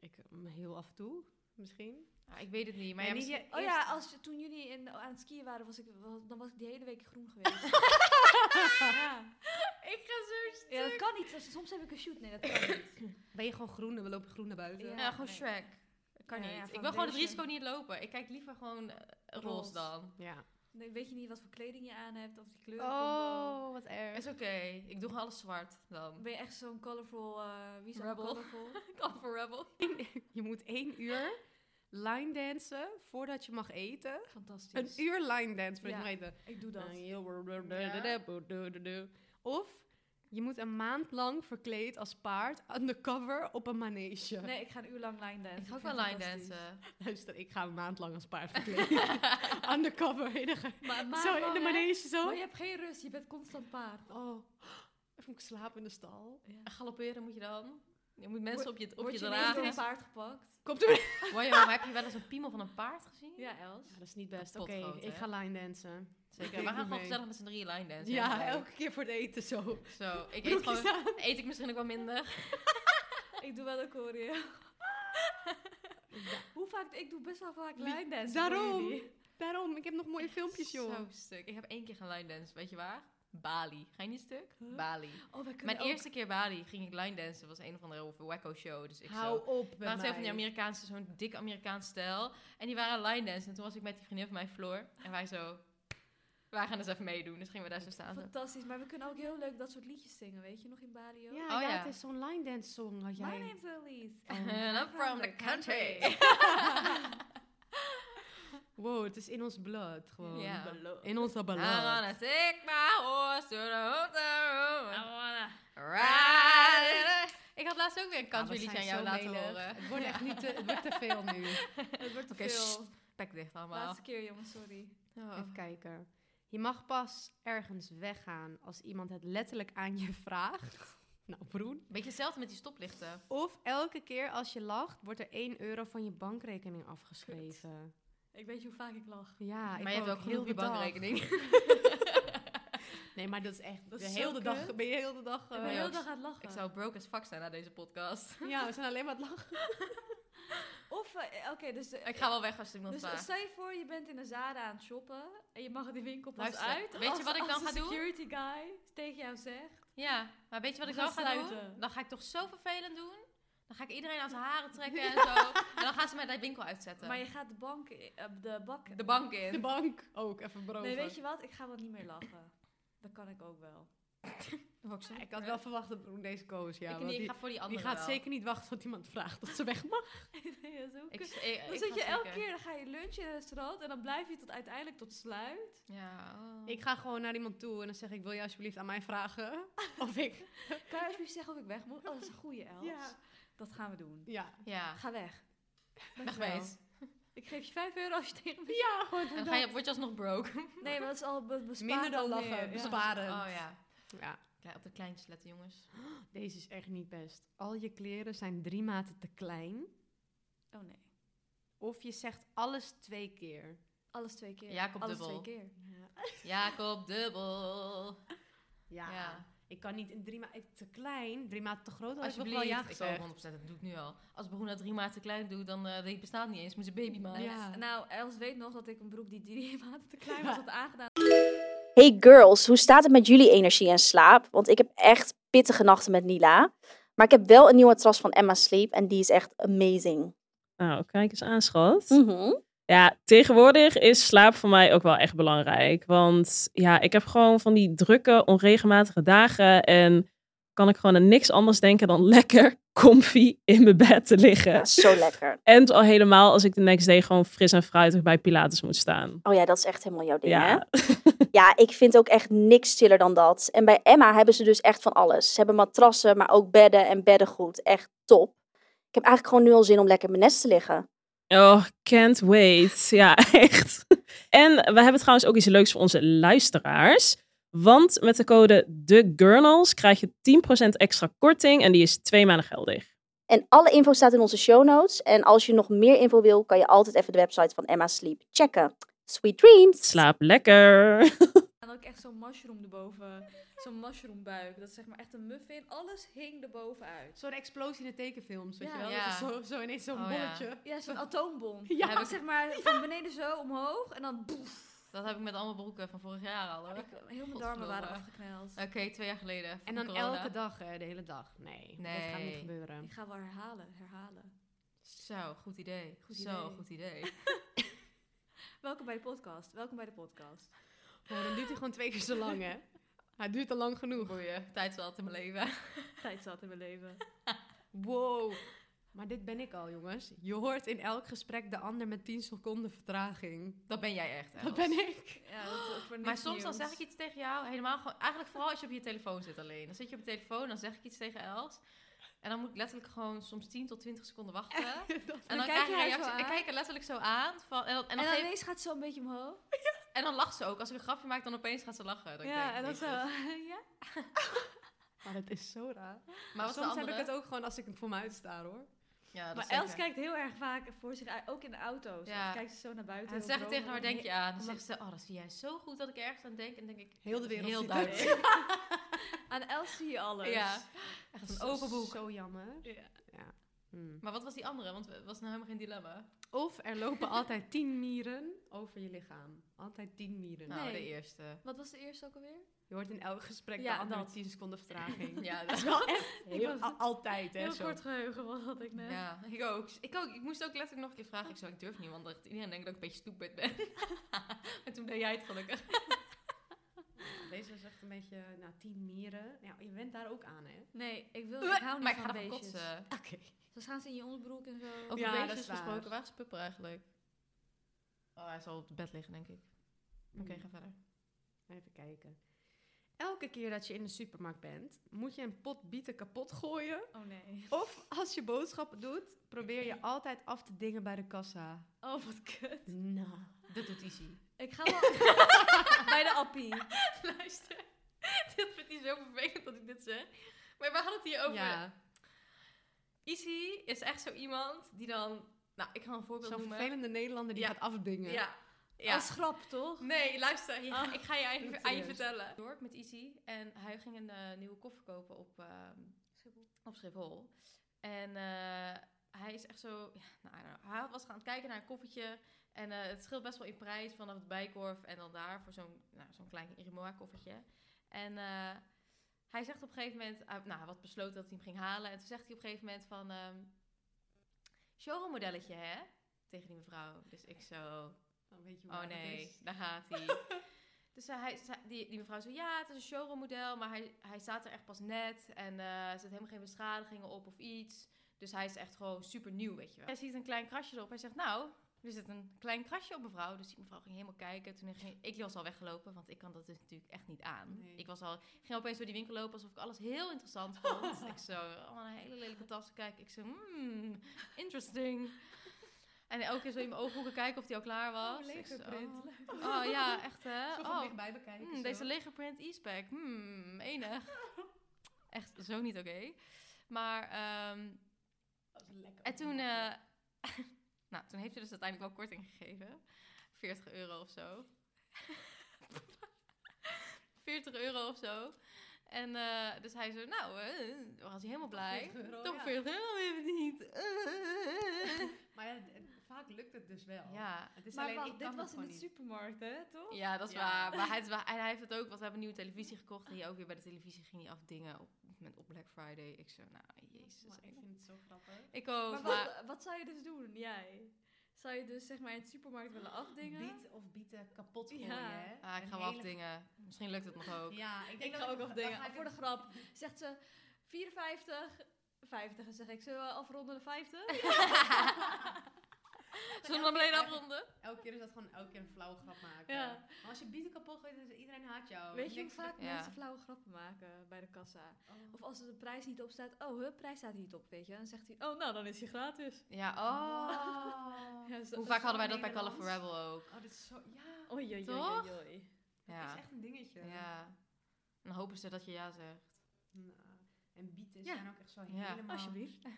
Ik eh, heel af en toe, misschien. Ah, ik weet het niet, maar Nee, ja, niet misschien- Oh eerst- ja, als, je- toen jullie in, aan het skiën waren, was ik, was- dan was ik die hele week groen geweest. ja. Ik ga zo stuk. ja, dat kan niet. als- Soms heb ik een shoot. Nee, dat kan niet. Ben je gewoon groen en we lopen groen naar buiten? Ja. Ja, gewoon nee. Shrek. Kan Ja, niet. ja, ik wil gewoon het foundation. risico niet lopen. Ik kijk liever gewoon eh, roze Roze. dan. Ja. Nee, weet je niet wat voor kleding je aan hebt of die kleur. Oh, wat erg. Is oké. Ik doe gewoon alles zwart dan. Ben je echt zo'n colorful... eh wie is Rebel. allemaal colorful? Ik al voor Rebel. Je moet één uur line dansen voordat je mag eten. Dus Een Fantastisch. uur line dance voordat Ja. je mag eten. Ik doe Nou, dat. Of je moet een maand lang verkleed als paard undercover op een manege. Nee, ik ga een uur lang line dansen. Ik ga ook vind wel line het fantastisch. dansen. Luister, ik ga een maand lang als paard verkleed. undercover. En dan ga ik Maar, maar, zo in de maar- manege zo. Maar je hebt geen rust. Je bent constant paard. Oh, even moet ik slapen in de stal. Ja. En galopperen moet je dan. Je moet mensen op je, op je Word je ineens door een dragen. paard gepakt? Komt er Wow, heb je wel eens een piemel van een paard gezien? Ja, Els. Ja, dat is niet best. Oké, Kapot groot, ik hè? ga line dansen. Zeker. Ik We gaan doe gewoon mee. gezellig met z'n drie line dansen. Ja, Leuk. elke keer voor het eten zo. Zo, ik eet Broekjes gewoon... aan. Eet ik misschien ook wel minder. Ik doe wel een choreo. Hoe vaak? Ik doe best wel vaak Wie- line dansen. daarom. voor jullie. Daarom, ik heb nog mooie filmpjes, joh. Zo stuk. Ik heb één keer gaan line dansen. Weet je waar? Bali. Ga je niet stuk? Bali. Oh, wij kunnen Mijn ook- eerste keer Bali ging ik line dansen. was een of andere wacko show. Dus ik zo... op Er waren twee van die Amerikaanse, zo'n dik Amerikaans stijl. En die waren line dansen. En toen was ik met die vriendin van mij, Floor. En wij zo... Wij gaan dus even meedoen. Dus gingen we daar zo staan. zo. Fantastisch, maar we kunnen ook heel leuk dat soort liedjes zingen, weet je? Nog in Bali ook. Ja, Oh, ja, ja. het is zo'n line dance song had My jij. name's Elise. And I'm from the country. Wow, het is in ons bloed gewoon. Ja. Ah, In onze I'm bloed. gonna take my horse to the hotel room. Ah, Ride it. Ik had laatst ook weer een Ja, we country liedje aan zijn jou zo laten menig. horen. Het wordt echt niet te, het wordt te veel nu. Het wordt te Oké, veel. Pek dicht allemaal. Laatste keer, jongens, sorry. Oh. Even kijken. Je mag pas ergens weggaan als iemand het letterlijk aan je vraagt. Nou, broen. Beetje hetzelfde met die stoplichten. Of elke keer als je lacht, wordt er 1 euro van je bankrekening afgeschreven. Ik weet je hoe vaak ik lach. Ja, ik maar je hebt ook ook heel heel je de dag. bankrekening. Nee, maar dat is echt. Dat de is zo hele dag kut. ben je heel de dag. ik eh, ben heel ja, de dag aan het lachen. Ik zou broke as fuck zijn na deze podcast. ja, we zijn alleen maar aan het lachen. Of, eh, oké, dus... eh, Ik ga wel weg als het iemand Dus vraagt. stel je voor, je bent in een Zara aan het shoppen en je mag die winkel pas Luister, uit. weet je als- wat ik dan als ga de doen? security guy tegen jou zegt. Ja, maar weet je wat ik We dan gaan ga doen? sluiten. Dan ga ik toch zo vervelend doen. Dan ga ik iedereen aan zijn haren trekken en zo. En dan gaan ze mij de winkel uitzetten. Maar je gaat de bank, i- eh, de bak... De bank De in. bank ook even brood. nee, weet je wat? Ik ga wel niet meer lachen. Dat kan ik ook wel. Ik had wel verwacht dat Broen deze koos. Ja, ik, want nee, ik die, ga voor die die andere gaat wel. zeker niet wachten tot iemand vraagt dat ze weg mag. nee, dat is ook Ik, kut. ik, ik Dan ga zit je elke zeker. keer, dan ga je lunchen in een restaurant en dan blijf je tot uiteindelijk tot sluit. Ja. oh. Ik ga gewoon naar iemand toe en dan zeg ik: Wil je alsjeblieft aan mij vragen? Of ik. Kan je alsjeblieft zeggen of ik weg moet? Oh, dat is een goeie, Els. Ja. Dat gaan we doen. Ja. Ja. Ga weg. Dankjewel. Wegwees. Ik geef je 5 euro als je tegen me... Ja, gewoon. En dan ga je, word je alsnog broke. Nee, maar dat is al be- bespaard Minder dan al lachen, meer. Ja. besparen. Oh ja. Ja, Kijk, op de kleintjes letten, jongens. deze is echt niet best. Al je kleren zijn drie maten te klein. Oh nee. Of je zegt alles twee keer. Alles twee keer. Jacob Alles dubbel. twee keer. Ja. Jacob Dubbel. Ja. Ja. Ik kan niet in drie maten te klein, drie maten te groot. dan had ik ook wel Alsjeblieft. ja ik gezegd. zou 100%, dat doe ik nu al. Als Bruna drie maten klein doet, dan eh, die bestaat niet eens. Moet ze baby maken. Ja. Nou, Els weet nog dat ik een broek die drie maanden te klein was had aangedaan. Hey girls, hoe staat het met jullie energie en slaap? Want ik heb echt pittige nachten met Nila. Maar ik heb wel een nieuwe matras van Emma Sleep en die is echt amazing. Nou, kijk eens aan, schat. Ja, tegenwoordig is slaap voor mij ook wel echt belangrijk. Want ja, ik heb gewoon van die drukke, onregelmatige dagen. En kan ik gewoon aan niks anders denken dan lekker comfy in mijn bed te liggen. Ja, zo lekker. En het al helemaal als ik de next day gewoon fris en fruitig bij Pilates moet staan. Oh ja, dat is echt helemaal jouw ding, hè? Ja, Ja, ik vind ook echt niks chiller dan dat. En bij Emma hebben ze dus echt van alles. Ze hebben matrassen, maar ook bedden en beddengoed. Echt top. Ik heb eigenlijk gewoon nu al zin om lekker in mijn nest te liggen. Oh, can't wait. Ja, echt. En we hebben trouwens ook iets leuks voor onze luisteraars. Want met de code TheGurnals krijg je 10% extra korting en die is twee maanden geldig. En alle info staat in onze show notes. En als je nog meer info wil, kan je altijd even de website van Emma Sleep checken. Sweet dreams! Slaap lekker. En dan ook echt zo'n mushroom erboven. Zo'n mushroombuik. Dat is zeg maar echt een muffin. Alles hing erboven uit. Zo'n explosie in de tekenfilms, weet Ja. je wel? Ja. Dat is Zo, zo ineens zo'n Oh, ja. bolletje. Ja, zo'n atoombom. Ja. Ja, zeg maar van beneden zo omhoog. En dan boef. Dat heb ik met allemaal broeken van vorig jaar al hoor. Ik, Oké, heel mijn darmen Godverdomme. waren afgekneld. twee jaar geleden. En dan Corona. elke dag, hè, de hele dag. Nee, dat gaat niet Nee. gebeuren. Ik ga wel herhalen, herhalen. Zo, goed idee. Goed Zo, idee. goed idee. Welkom bij de podcast. Welkom bij de podcast. Oh, dan duurt hij gewoon twee keer zo lang, hè? Hij duurt al lang genoeg. Boeien. Tijd zat in mijn leven. Tijd zat in mijn leven. Wow. Maar dit ben ik al, jongens. Je hoort in elk gesprek de ander met 10 seconden vertraging. Dat ben jij echt. Els. Dat ben ik. Ja, dat is voor Maar niks soms dan nieuws. zeg ik iets tegen jou, helemaal gewoon, eigenlijk vooral als je op je telefoon zit alleen. Dan zit je op je telefoon, dan zeg ik iets tegen Els. En dan moet ik letterlijk gewoon soms 10 tot 20 seconden wachten. en dan kijk krijg je je haar zo reactie. Ik aan. kijk er letterlijk zo aan. Van, en, dan, en, En dan dan geef- ineens gaat ze een beetje omhoog. en dan lacht ze ook. Als ik een grapje maak, dan opeens gaat ze lachen. Dat ik Ja, denk, en dan zo. jezus. Ja. Maar dat is zo raar. Maar wat Soms de heb ik andere? het ook gewoon als ik het voor me uitsta, hoor. Ja, dat Maar zeker. Els kijkt heel erg vaak voor zich uit, ook in de auto's. Ja. Dan kijkt ze zo naar buiten. En dan op zeg ik de tegen haar, road. waar denk je aan? Dan Omdat- zegt ze, oh, dat zie jij zo goed dat ik ergens aan denk. En dan denk ik, Heel de wereld heel ziet duidelijk. het. Aan Els zie je alles. Ja, echt een open boek. Zo jammer. Ja. Hmm. Maar wat was die andere? Want het was nou helemaal geen dilemma. Of er lopen altijd 10 mieren over je lichaam. Altijd 10 mieren. Nou, Nee. de eerste. Wat was de eerste ook alweer? Je hoort in elk gesprek Ja, de ander met dat. 10 seconden vertraging. Ja, dat is wel Heel- was- al- altijd, hè? Heel zo. kort geheugen wat had ik net. Ja, ik ook. ik ook. Ik moest ook letterlijk nog een keer vragen. Ik zou ik durf niet, want dat- iedereen denkt dat ik een beetje stupid ben. maar toen deed jij het gelukkig. Deze is echt een beetje, nou, 10 mieren. Ja, je went daar ook aan, hè? Nee, ik wil ik maar hou niet Oh, ik van ga ervan beestjes. kotsen. Oké. Dan gaan ze in je onderbroek en zo. Over Ja, dat beestjes is waar. gesproken, waar is Pupper eigenlijk? Oh, hij zal op het bed liggen, denk ik. Oké, ga verder. Even kijken. Elke keer dat je in de supermarkt bent, moet je een pot bieten kapot gooien. Oh nee. Of als je boodschappen doet, probeer je altijd af te dingen bij de kassa. Oh, wat kut. Nou. Dat doet Izzy. Ik ga wel bij de appie. Luister, dit vindt hij zo vervelend dat ik dit zeg. Maar we hadden het hier over. Ja, Izzy is echt zo iemand die dan... Nou, ik ga een voorbeeld zo'n noemen. vervelende Nederlander die Ja. gaat afdingen. Ja. ja. Als grap, toch? Nee, luister. ja, Oh, ik ga je eigenlijk aan je serieus. vertellen. Door met Izzy. En hij ging een eh, nieuwe koffer kopen op, ehm, op Schiphol. En eh, hij is echt zo... Ja, nou, I don't know. hij was gaan kijken naar een koffertje. En eh, het scheelt best wel in prijs vanaf het Bijkorf en dan daar voor zo'n nou, zo'n klein Irimoa koffertje. En eh, hij zegt op een gegeven moment... hij- nou, hij had besloten dat hij hem ging halen. En toen zegt hij op een gegeven moment van... ehm showroom modelletje, hè? Tegen die mevrouw. Dus ik zo... Dan weet je hoe Oh laat het nee, is. daar gaat hij. dus eh, hij, ze- die, die mevrouw zei, ja, het is een showroommodel, maar hij, hij staat er echt pas net. En eh, er zit helemaal geen beschadigingen op of iets. Dus hij is echt gewoon super nieuw, weet je wel. Hij ziet een klein krasje erop. Hij zegt, nou, er zit een klein krasje op mevrouw. Dus die mevrouw ging helemaal kijken. Toen ging, ik was al weggelopen, want ik kan dat dus natuurlijk echt niet aan. Nee. Ik was al, ging opeens door die winkel lopen alsof ik alles heel interessant vond. ik zo, oh, een hele lelijke tas. Kijk, ik zo, hmm, interesting. En elke keer zo in mijn ooghoeken kijken of die al klaar was. Ik zo, Oh, legerprint. Oh, oh ja, echt hè? Zo van Oh, dichtbij bekijken. hmm, zo. deze legerprint e-spec. Hmm, enig. Echt zo niet oké. Maar ehm, Dat is lekker. en toen, eh, nou, toen heeft ze dus uiteindelijk wel korting gegeven. 40 euro of zo. 40 euro of zo. En eh, dus hij zo, nou, eh was hij helemaal blij. 40 euro, Toch ja. 40 euro even niet. Maar ja, d- vaak lukt het dus wel. Ja. Het is maar alleen, wacht, ik kan dit het was in gewoon de niet. supermarkt, hè, toch? Ja, dat is Ja. waar. Maar hij, heeft wel- en hij heeft het ook, want we hebben een nieuwe televisie gekocht. En hier ook weer bij de televisie ging hij af dingen op, met, op Black Friday. Ik zo, nou, jezus. Maar ik vind het zo grappig. Ik ook, Maar maar... wat, wat zou je dus doen, jij? Zou je dus zeg maar in de supermarkt willen afdingen? Biet of bieten kapot gooien, Ja. hè? Ah, ik Een ga wel hele- afdingen. Misschien lukt het nog ook. Ja, ik, Ik denk ga ook dan afdingen. Voor de ik- grap zegt ze 54, 50. En zeg ik, zullen we afronden de 50? Zullen we dan meteen afronden? Elke keer is dat gewoon elke keer een flauwe grap maken. Ja. Maar als je bieten kapot gooit, dan is iedereen haat jou. Weet je hoe Oh, Niks- vaak Ja. mensen flauwe grappen maken bij de kassa? Oh. Of als er de prijs niet op staat, oh, hun prijs staat niet op, weet je. Dan zegt hij, oh, nou, dan is hij gratis. Ja, oh. Ja, zo- Hoe vaak hadden wij dat bij Call Nederlands. of Rebel ook? Oh, dit is zo... Ja, Oei, oei, oei, Toch? oei, oei. dat Ja. is echt een dingetje. ja. En dan hopen ze dat je ja zegt. Nou, En bieten Ja. zijn ook echt zo Ja. helemaal... Alsjeblieft. Ja,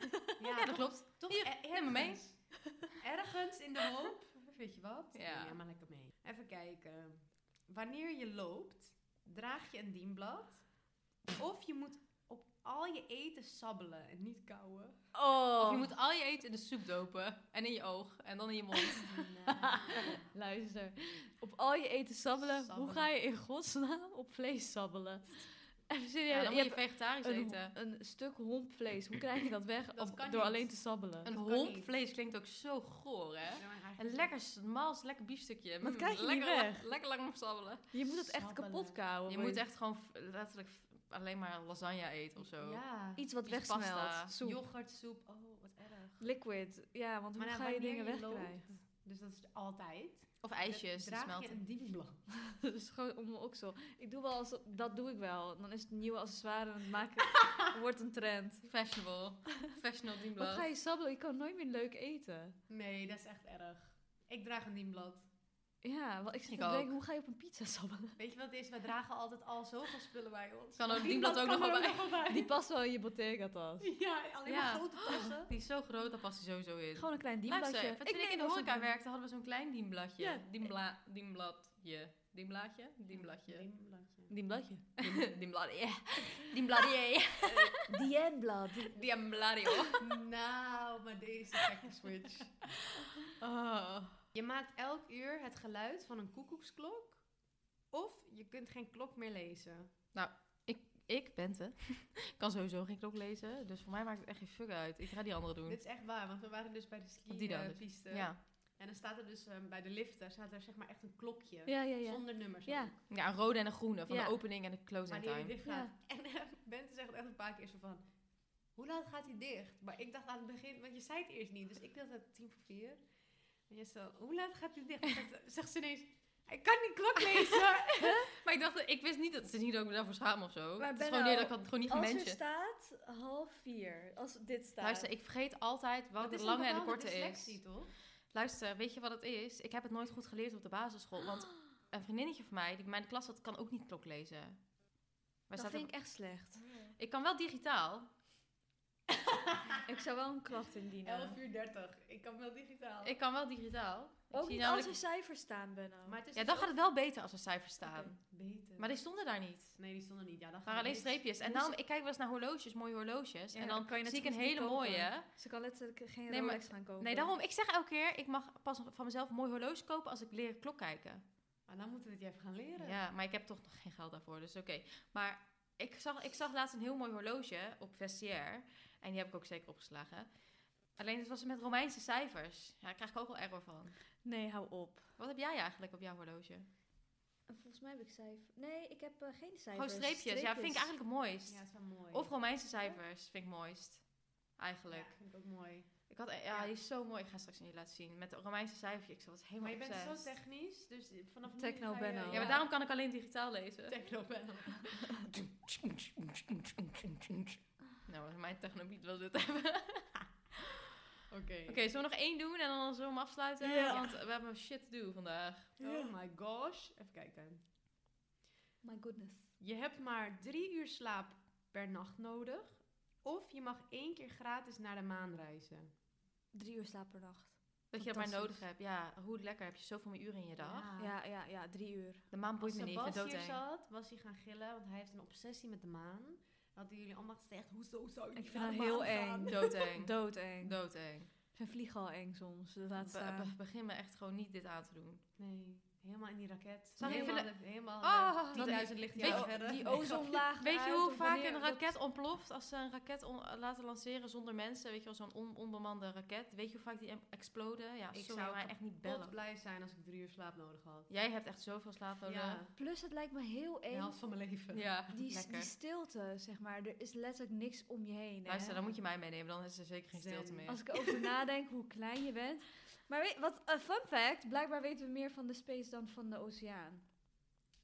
Ja, dat klopt. Toch Hier, er- neem me mee. ergens. Ergens in de hoop. Weet je wat? Ja. Neem jij maar lekker mee. Even kijken. Wanneer je loopt, draag je een dienblad. Of je moet op al je eten sabbelen en niet kauwen. Oh, Of je moet al je eten in de soep dopen. En in je oog. En dan in je mond. luister. Op al je eten sabbelen, Sabbelen. hoe ga je in godsnaam op vlees sabbelen? Even serieus, Ja, dan moet je je hebt vegetarisch een, eten. een stuk hond vlees. Hoe krijg je dat weg Dat op- kan door niet. alleen te sabbelen? Een kan homp niet. vlees klinkt ook zo goor, hè? Ja, maar hij- Een lekker smal, lekker biefstukje. Dat Mm, krijg je niet lekker, lang- weg. Lekker lang om sabbelen. Je moet het echt Sabbelen. kapot kauwen. Je maar moet echt gewoon f- letterlijk f- alleen maar lasagne eten of zo. Ja. iets wat iets pasta. wegsmelt. Soep. Yoghurtsoep. Oh, wat erg. Liquid. Ja, want hoe ja, ga je wanneer dingen loopt, wegkrijgen? Dus dat is altijd. Of ijsjes, die Draag je smelten. een dienblad. Dat is gewoon om mijn oksel. Ik doe wel als, dat doe ik wel. Dan is het een nieuwe accessoire en het maakt, het wordt een trend. Fashionable. Fashionable Wat dienblad. ga je sabbelen? Je kan nooit meer leuk eten. Nee, dat is echt erg. Ik draag een dienblad. Ja, want ik zit Ik te denken, ook. hoe ga je op een pizza sabbelen? Weet je wat het is? Wij dragen altijd al zoveel spullen bij ons. Kan ook dienblad ook nog wel kan er bij. ook nog wel bij. Die past wel in je bottega tas. Ja, alleen Ja. maar grote tassen. Die is zo groot, dat past hij sowieso in. Gewoon een klein Luister, dienbladje. even toen ik in de dat horeca een- werkte, hadden we zo'n klein dienbladje. Ja. Dienbla, dienbladje. Dienbladje? Dienbladje. Dienbladje. Dienbladje. Dienbladje. Dienbladje. Dienblad. Dienbladje. Nou, maar deze gekke switch. Oh. Je maakt elk uur het geluid van een koekoeksklok. Of je kunt geen klok meer lezen. Ik, Bente, kan sowieso geen klok lezen. Dus voor mij maakt het echt geen fuck uit. Ik ga die andere doen. Dit is echt waar, want we waren dus bij de Op die dan dus. ski-piste. eh, Ja. En dan staat er dus ehm, bij de liften staat er zeg maar echt een klokje. Ja, ja, ja. Zonder nummers. Ja. ook. ja, een rode en een groene. Van Ja. de opening en de closing Wanneer die time. dicht gaat. En eh, Bente zegt echt een paar keer zo van... Hoe laat gaat hij dicht? Maar ik dacht aan het begin... Want je zei het eerst niet. Dus ik dacht dat tien voor vier. En je zo... Hoe laat gaat hij dicht? En zegt- Zegt ze ineens... Ik kan die klok lezen. Maar ik dacht, ik wist niet dat ze niet ook daarvoor schamen of zo. Maar het is ben gewoon nou, niet dat ik had het gewoon niet Als er gemanaged. staat half vier. Als dit staat. Luister, ik vergeet altijd Dat wat de is een lange en de bepaalde korte dyslexie, is. toch? Luister, weet je wat het is? Ik heb het nooit goed geleerd op de basisschool. Want een vriendinnetje van mij, die bij mij in de klas zat, kan ook niet klok lezen. Wij dat zaten- vind ik echt slecht. ik kan wel digitaal. Ik zou wel een klacht indienen. 11 uur 30. Ik kan wel digitaal. Ik kan wel digitaal. Ik Oh. Ook zie niet namelijk- als er cijfers staan, Benno. maar het is Ja, dus dan ook gaat het wel beter als er cijfers staan. beter. Maar die stonden daar niet. Nee, die stonden niet. Ja, dan Het waren alleen streepjes. En daarom, ik kijk wel eens naar horloges, mooie horloges. dus Ja, en dan kan je net zie ik een zo goed die hele kopen. mooie. Ze kan letterlijk geen Nee, maar- Rolex gaan kopen. Nee, daarom, ik zeg elke keer, ik mag pas van mezelf een mooi horloge kopen als ik leer klok kijken. Maar dan moeten we het je even gaan leren. Ja, maar ik heb toch nog geen geld daarvoor, dus oké. Maar ik zag, ik zag laatst een heel mooi horloge op Vestiaire. En die heb ik ook zeker opgeslagen. Alleen het was met Romeinse cijfers. Ja, daar krijg ik ook wel error van. Nee, hou op. Wat heb jij eigenlijk op jouw horloge? Volgens mij heb ik cijfers. Nee, ik heb eh, geen cijfers. Gewoon streepjes. Ja, vind ik eigenlijk het mooist. Ja, dat is wel mooi. Of Romeinse cijfers vind ik mooist. Eigenlijk. Ja, vind ik ook mooi. Ik had, ja, die is zo mooi. Ik ga straks aan je laten zien. Met de Romeinse cijfertje. Ik was helemaal Maar je bent zo obsessed. technisch, dus vanaf nu Techno ga je- Benno. Ja, maar daarom kan ik alleen digitaal lezen. Techno Benno. Nou, mijn technobiet wil dit hebben. Oké, Oké. zullen we nog één doen en dan zullen we hem afsluiten? Ja. Want we hebben shit te doen vandaag. Oh my gosh. Even kijken. My goodness. Je hebt maar drie uur slaap per nacht nodig. Of je mag één keer gratis naar de maan reizen. Drie uur slaap per nacht. Dat je dat maar Fantastisch. nodig hebt. Ja, hoe lekker heb je zoveel meer uren in je dag? Ja, ja, ja, drie uur. De maan Als boeit me niet. Ik ben Sebas dood hier zat, was hij gaan gillen, want hij heeft een obsessie met de maan. Dan Hadden jullie allemaal gezegd, hoezo zou je Ik niet vind naar de dat heel maan gaan? eng. Doodeng. Doodeng. Doodeng. vind vliegen al eng soms. Dus laat Be- be- staan. begin me echt gewoon niet dit aan te doen. Nee, helemaal in die raket. Sorry, ik helemaal, vind helemaal Ah, naar 10.000 Weet lichtjaar je- verder. Die ozonlaag Weet je eruit hoe of vaak wanneer een dat- raket ontploft als ze een raket on- laten lanceren zonder mensen? Weet je wel, zo'n on- onbemande raket. Weet je hoe vaak die em- exploden? Ja, Ik sorry, zou maar echt niet Bot bellen. blij zijn als ik drie uur slaap nodig had. Jij hebt echt zoveel slaap nodig. Ja, Plus het lijkt me heel de eng. helft van mijn leven. Ja, die, s- lekker. die stilte, zeg maar. Er is letterlijk niks om je heen. hè. Luister, dan moet je mij meenemen, dan is er zeker geen Zen. stilte meer. Als ik over nadenk hoe klein je bent. Maar weet, wat een fun fact. Blijkbaar weten we meer van de space dan van de oceaan.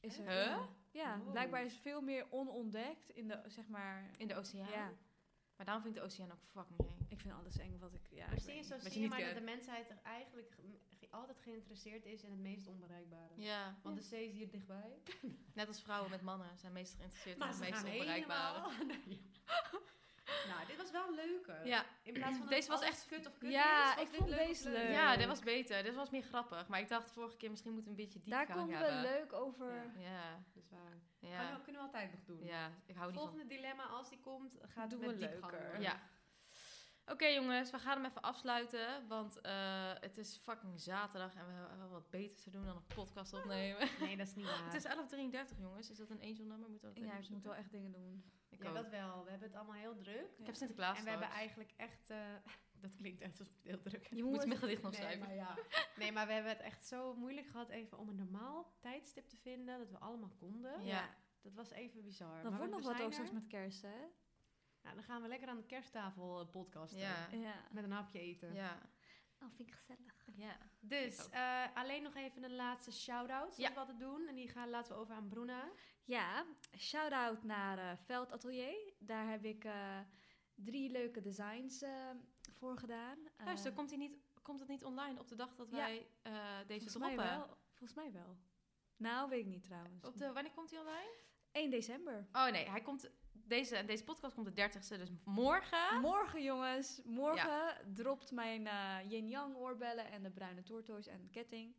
Is er? Huh? Oh. Ja. Ja, Wow. blijkbaar is veel meer onontdekt in de, zeg maar... In de oceaan. ja. Maar daarom vind ik de oceaan ook fucking eng. Ik vind alles eng wat ik... Ja, Maar ik zie je, weet zo niet. Wat zie je je niet maar dat de kent. mensheid er eigenlijk ge- ge- altijd geïnteresseerd is in het meest onbereikbare. Ja, Want de zee is hier dichtbij. net als vrouwen met mannen zijn meestal geïnteresseerd in Maar het ze meest gaan onbereikbare. helemaal- Nee, ja. nou, dit was wel leuker. Ja. In plaats van Deze dat was alles kut of kut Ja, is, was ik dit vond leuk of deze leuk. leuk. ja, dit was beter. Dit was meer grappig. Maar ik dacht vorige keer misschien moeten we een beetje diep Daar gaan komen we hebben. leuk over... Ja. Ja, Dat is Dus waar. Maar ja, dat kunnen we altijd nog doen. ja. Ik hou niet van Volgende dilemma, als die komt, gaat Doen het met we diepgang leuker. worden. Ja. Oké jongens, we gaan hem even afsluiten, want eh, het is fucking zaterdag en we hebben wel wat beters te doen dan een podcast opnemen. Nee, dat is niet waar. het is 11.33 jongens, is dat een angel number? Moeten we dat Ja, even ik moet opzoeken? wel echt dingen doen. Ik, Ja, ook. dat wel. We hebben het allemaal heel druk. ik heb Sinterklaas en we hebben straks. eigenlijk echt... eh, dat klinkt echt alsof het heel druk is. Je Ik moet moet... mijn gedicht nog Nee, schrijven. maar ja. nee, maar we hebben het echt zo moeilijk gehad even om een normaal tijdstip te vinden. Dat we allemaal konden. Ja. Dat was even bizar. Dan Maar wordt we nog wat zijn ook er. straks met kerst, hè? Nou, dan gaan we lekker aan de kersttafel eh, podcasten. Ja. Ja. Met een hapje eten. Ja. Oh, vind ik gezellig. ja. Ik Dus ook. eh, alleen nog even een laatste shout-out. Ja. Ja. we altijd doen. En die gaan, laten we over aan Bruna. Ja, shout-out naar eh, Veld Atelier. Daar heb ik eh, drie leuke designs eh, voor gedaan. Eh, Luister, komt, hij niet, komt het niet online op de dag dat Ja. wij eh, deze volgens mij droppen? wel. Volgens mij wel. Nou, weet ik niet trouwens. Op de, wanneer komt hij online? 1 december. Oh nee, hij komt, deze, deze podcast komt de 30ste, dus morgen. Morgen, jongens. Morgen dropt mijn eh, yin-yang oorbellen en de bruine tortoise en ketting.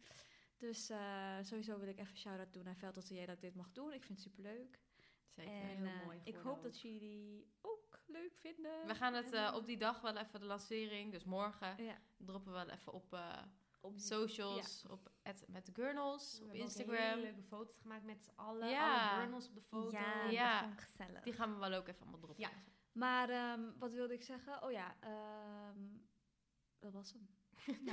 Dus eh, sowieso wil ik even shout-out doen naar Veld Atelier dat ik dit mag doen. Ik vind het superleuk. Zeker. en heel eh, mooi ik geworden hoop dat jullie ook leuk vinden. We gaan het En, eh, eh, op die dag wel even de lancering, dus morgen Ja. droppen we wel even op eh, op die- socials, op at, met de Gurnals, We op hebben ook hele Instagram. leuke foto's gemaakt met z'n allen. Ja. Alle journals op de foto. Ja, Ja. dat vond ik gezellig. Die gaan we wel ook even allemaal droppen. Ja. Maar ehm, wat wilde ik zeggen? Oh ja, ehm, dat was hem.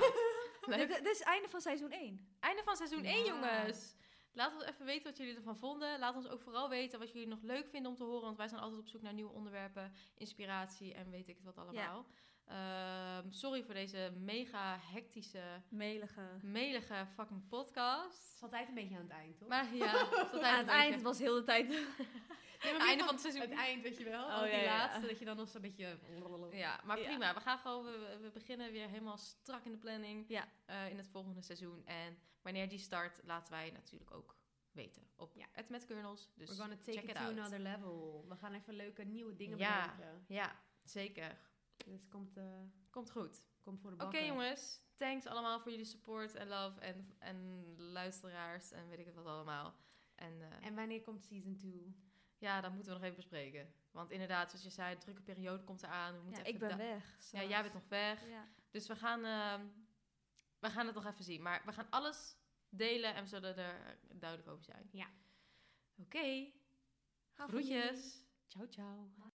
Leuk. Dit, dit is het einde van seizoen 1. Einde van seizoen 1, Ja. jongens. Laat ons even weten wat jullie ervan vonden. Laat ons ook vooral weten wat jullie nog leuk vinden om te horen. Want wij zijn altijd op zoek naar nieuwe onderwerpen, inspiratie en weet ik het wat allemaal. Ehm, sorry voor deze mega hectische, Melige. melige fucking Het podcast. is altijd een beetje aan het eind, toch? Maar ja, dat is altijd Aan een het eind beetje- was heel de tijd. Nee, maar het einde meer van het seizoen. Het eind, weet je wel. Oh, Al die ja, ja. laatste, dat je dan nog zo'n beetje... Ja, maar Ja. prima. We gaan gewoon, we, we beginnen weer helemaal strak in de planning Ja. eh, in het volgende seizoen. En wanneer die start, laten wij natuurlijk ook weten op Ja. het met Kernels. Dus We're gonna take check it, it to out. another level. We gaan even leuke nieuwe dingen Ja. bedenken. Ja, zeker. Dus komt, eh, Komt goed. komt voor de Oké bakken. jongens, thanks allemaal voor jullie support en love en, en luisteraars en weet ik het wat allemaal. En, eh, En wanneer komt season 2? ja, dat moeten we nog even bespreken. Want inderdaad, zoals je zei, een drukke periode komt eraan. We moeten Ja, even ik ben da- weg. Ja, straks. jij bent nog weg. Ja. Dus we gaan, ehm, we gaan het nog even zien. Maar we gaan alles delen en we zullen er duidelijk over zijn. Ja. Oké. Groetjes. Ciao, ciao.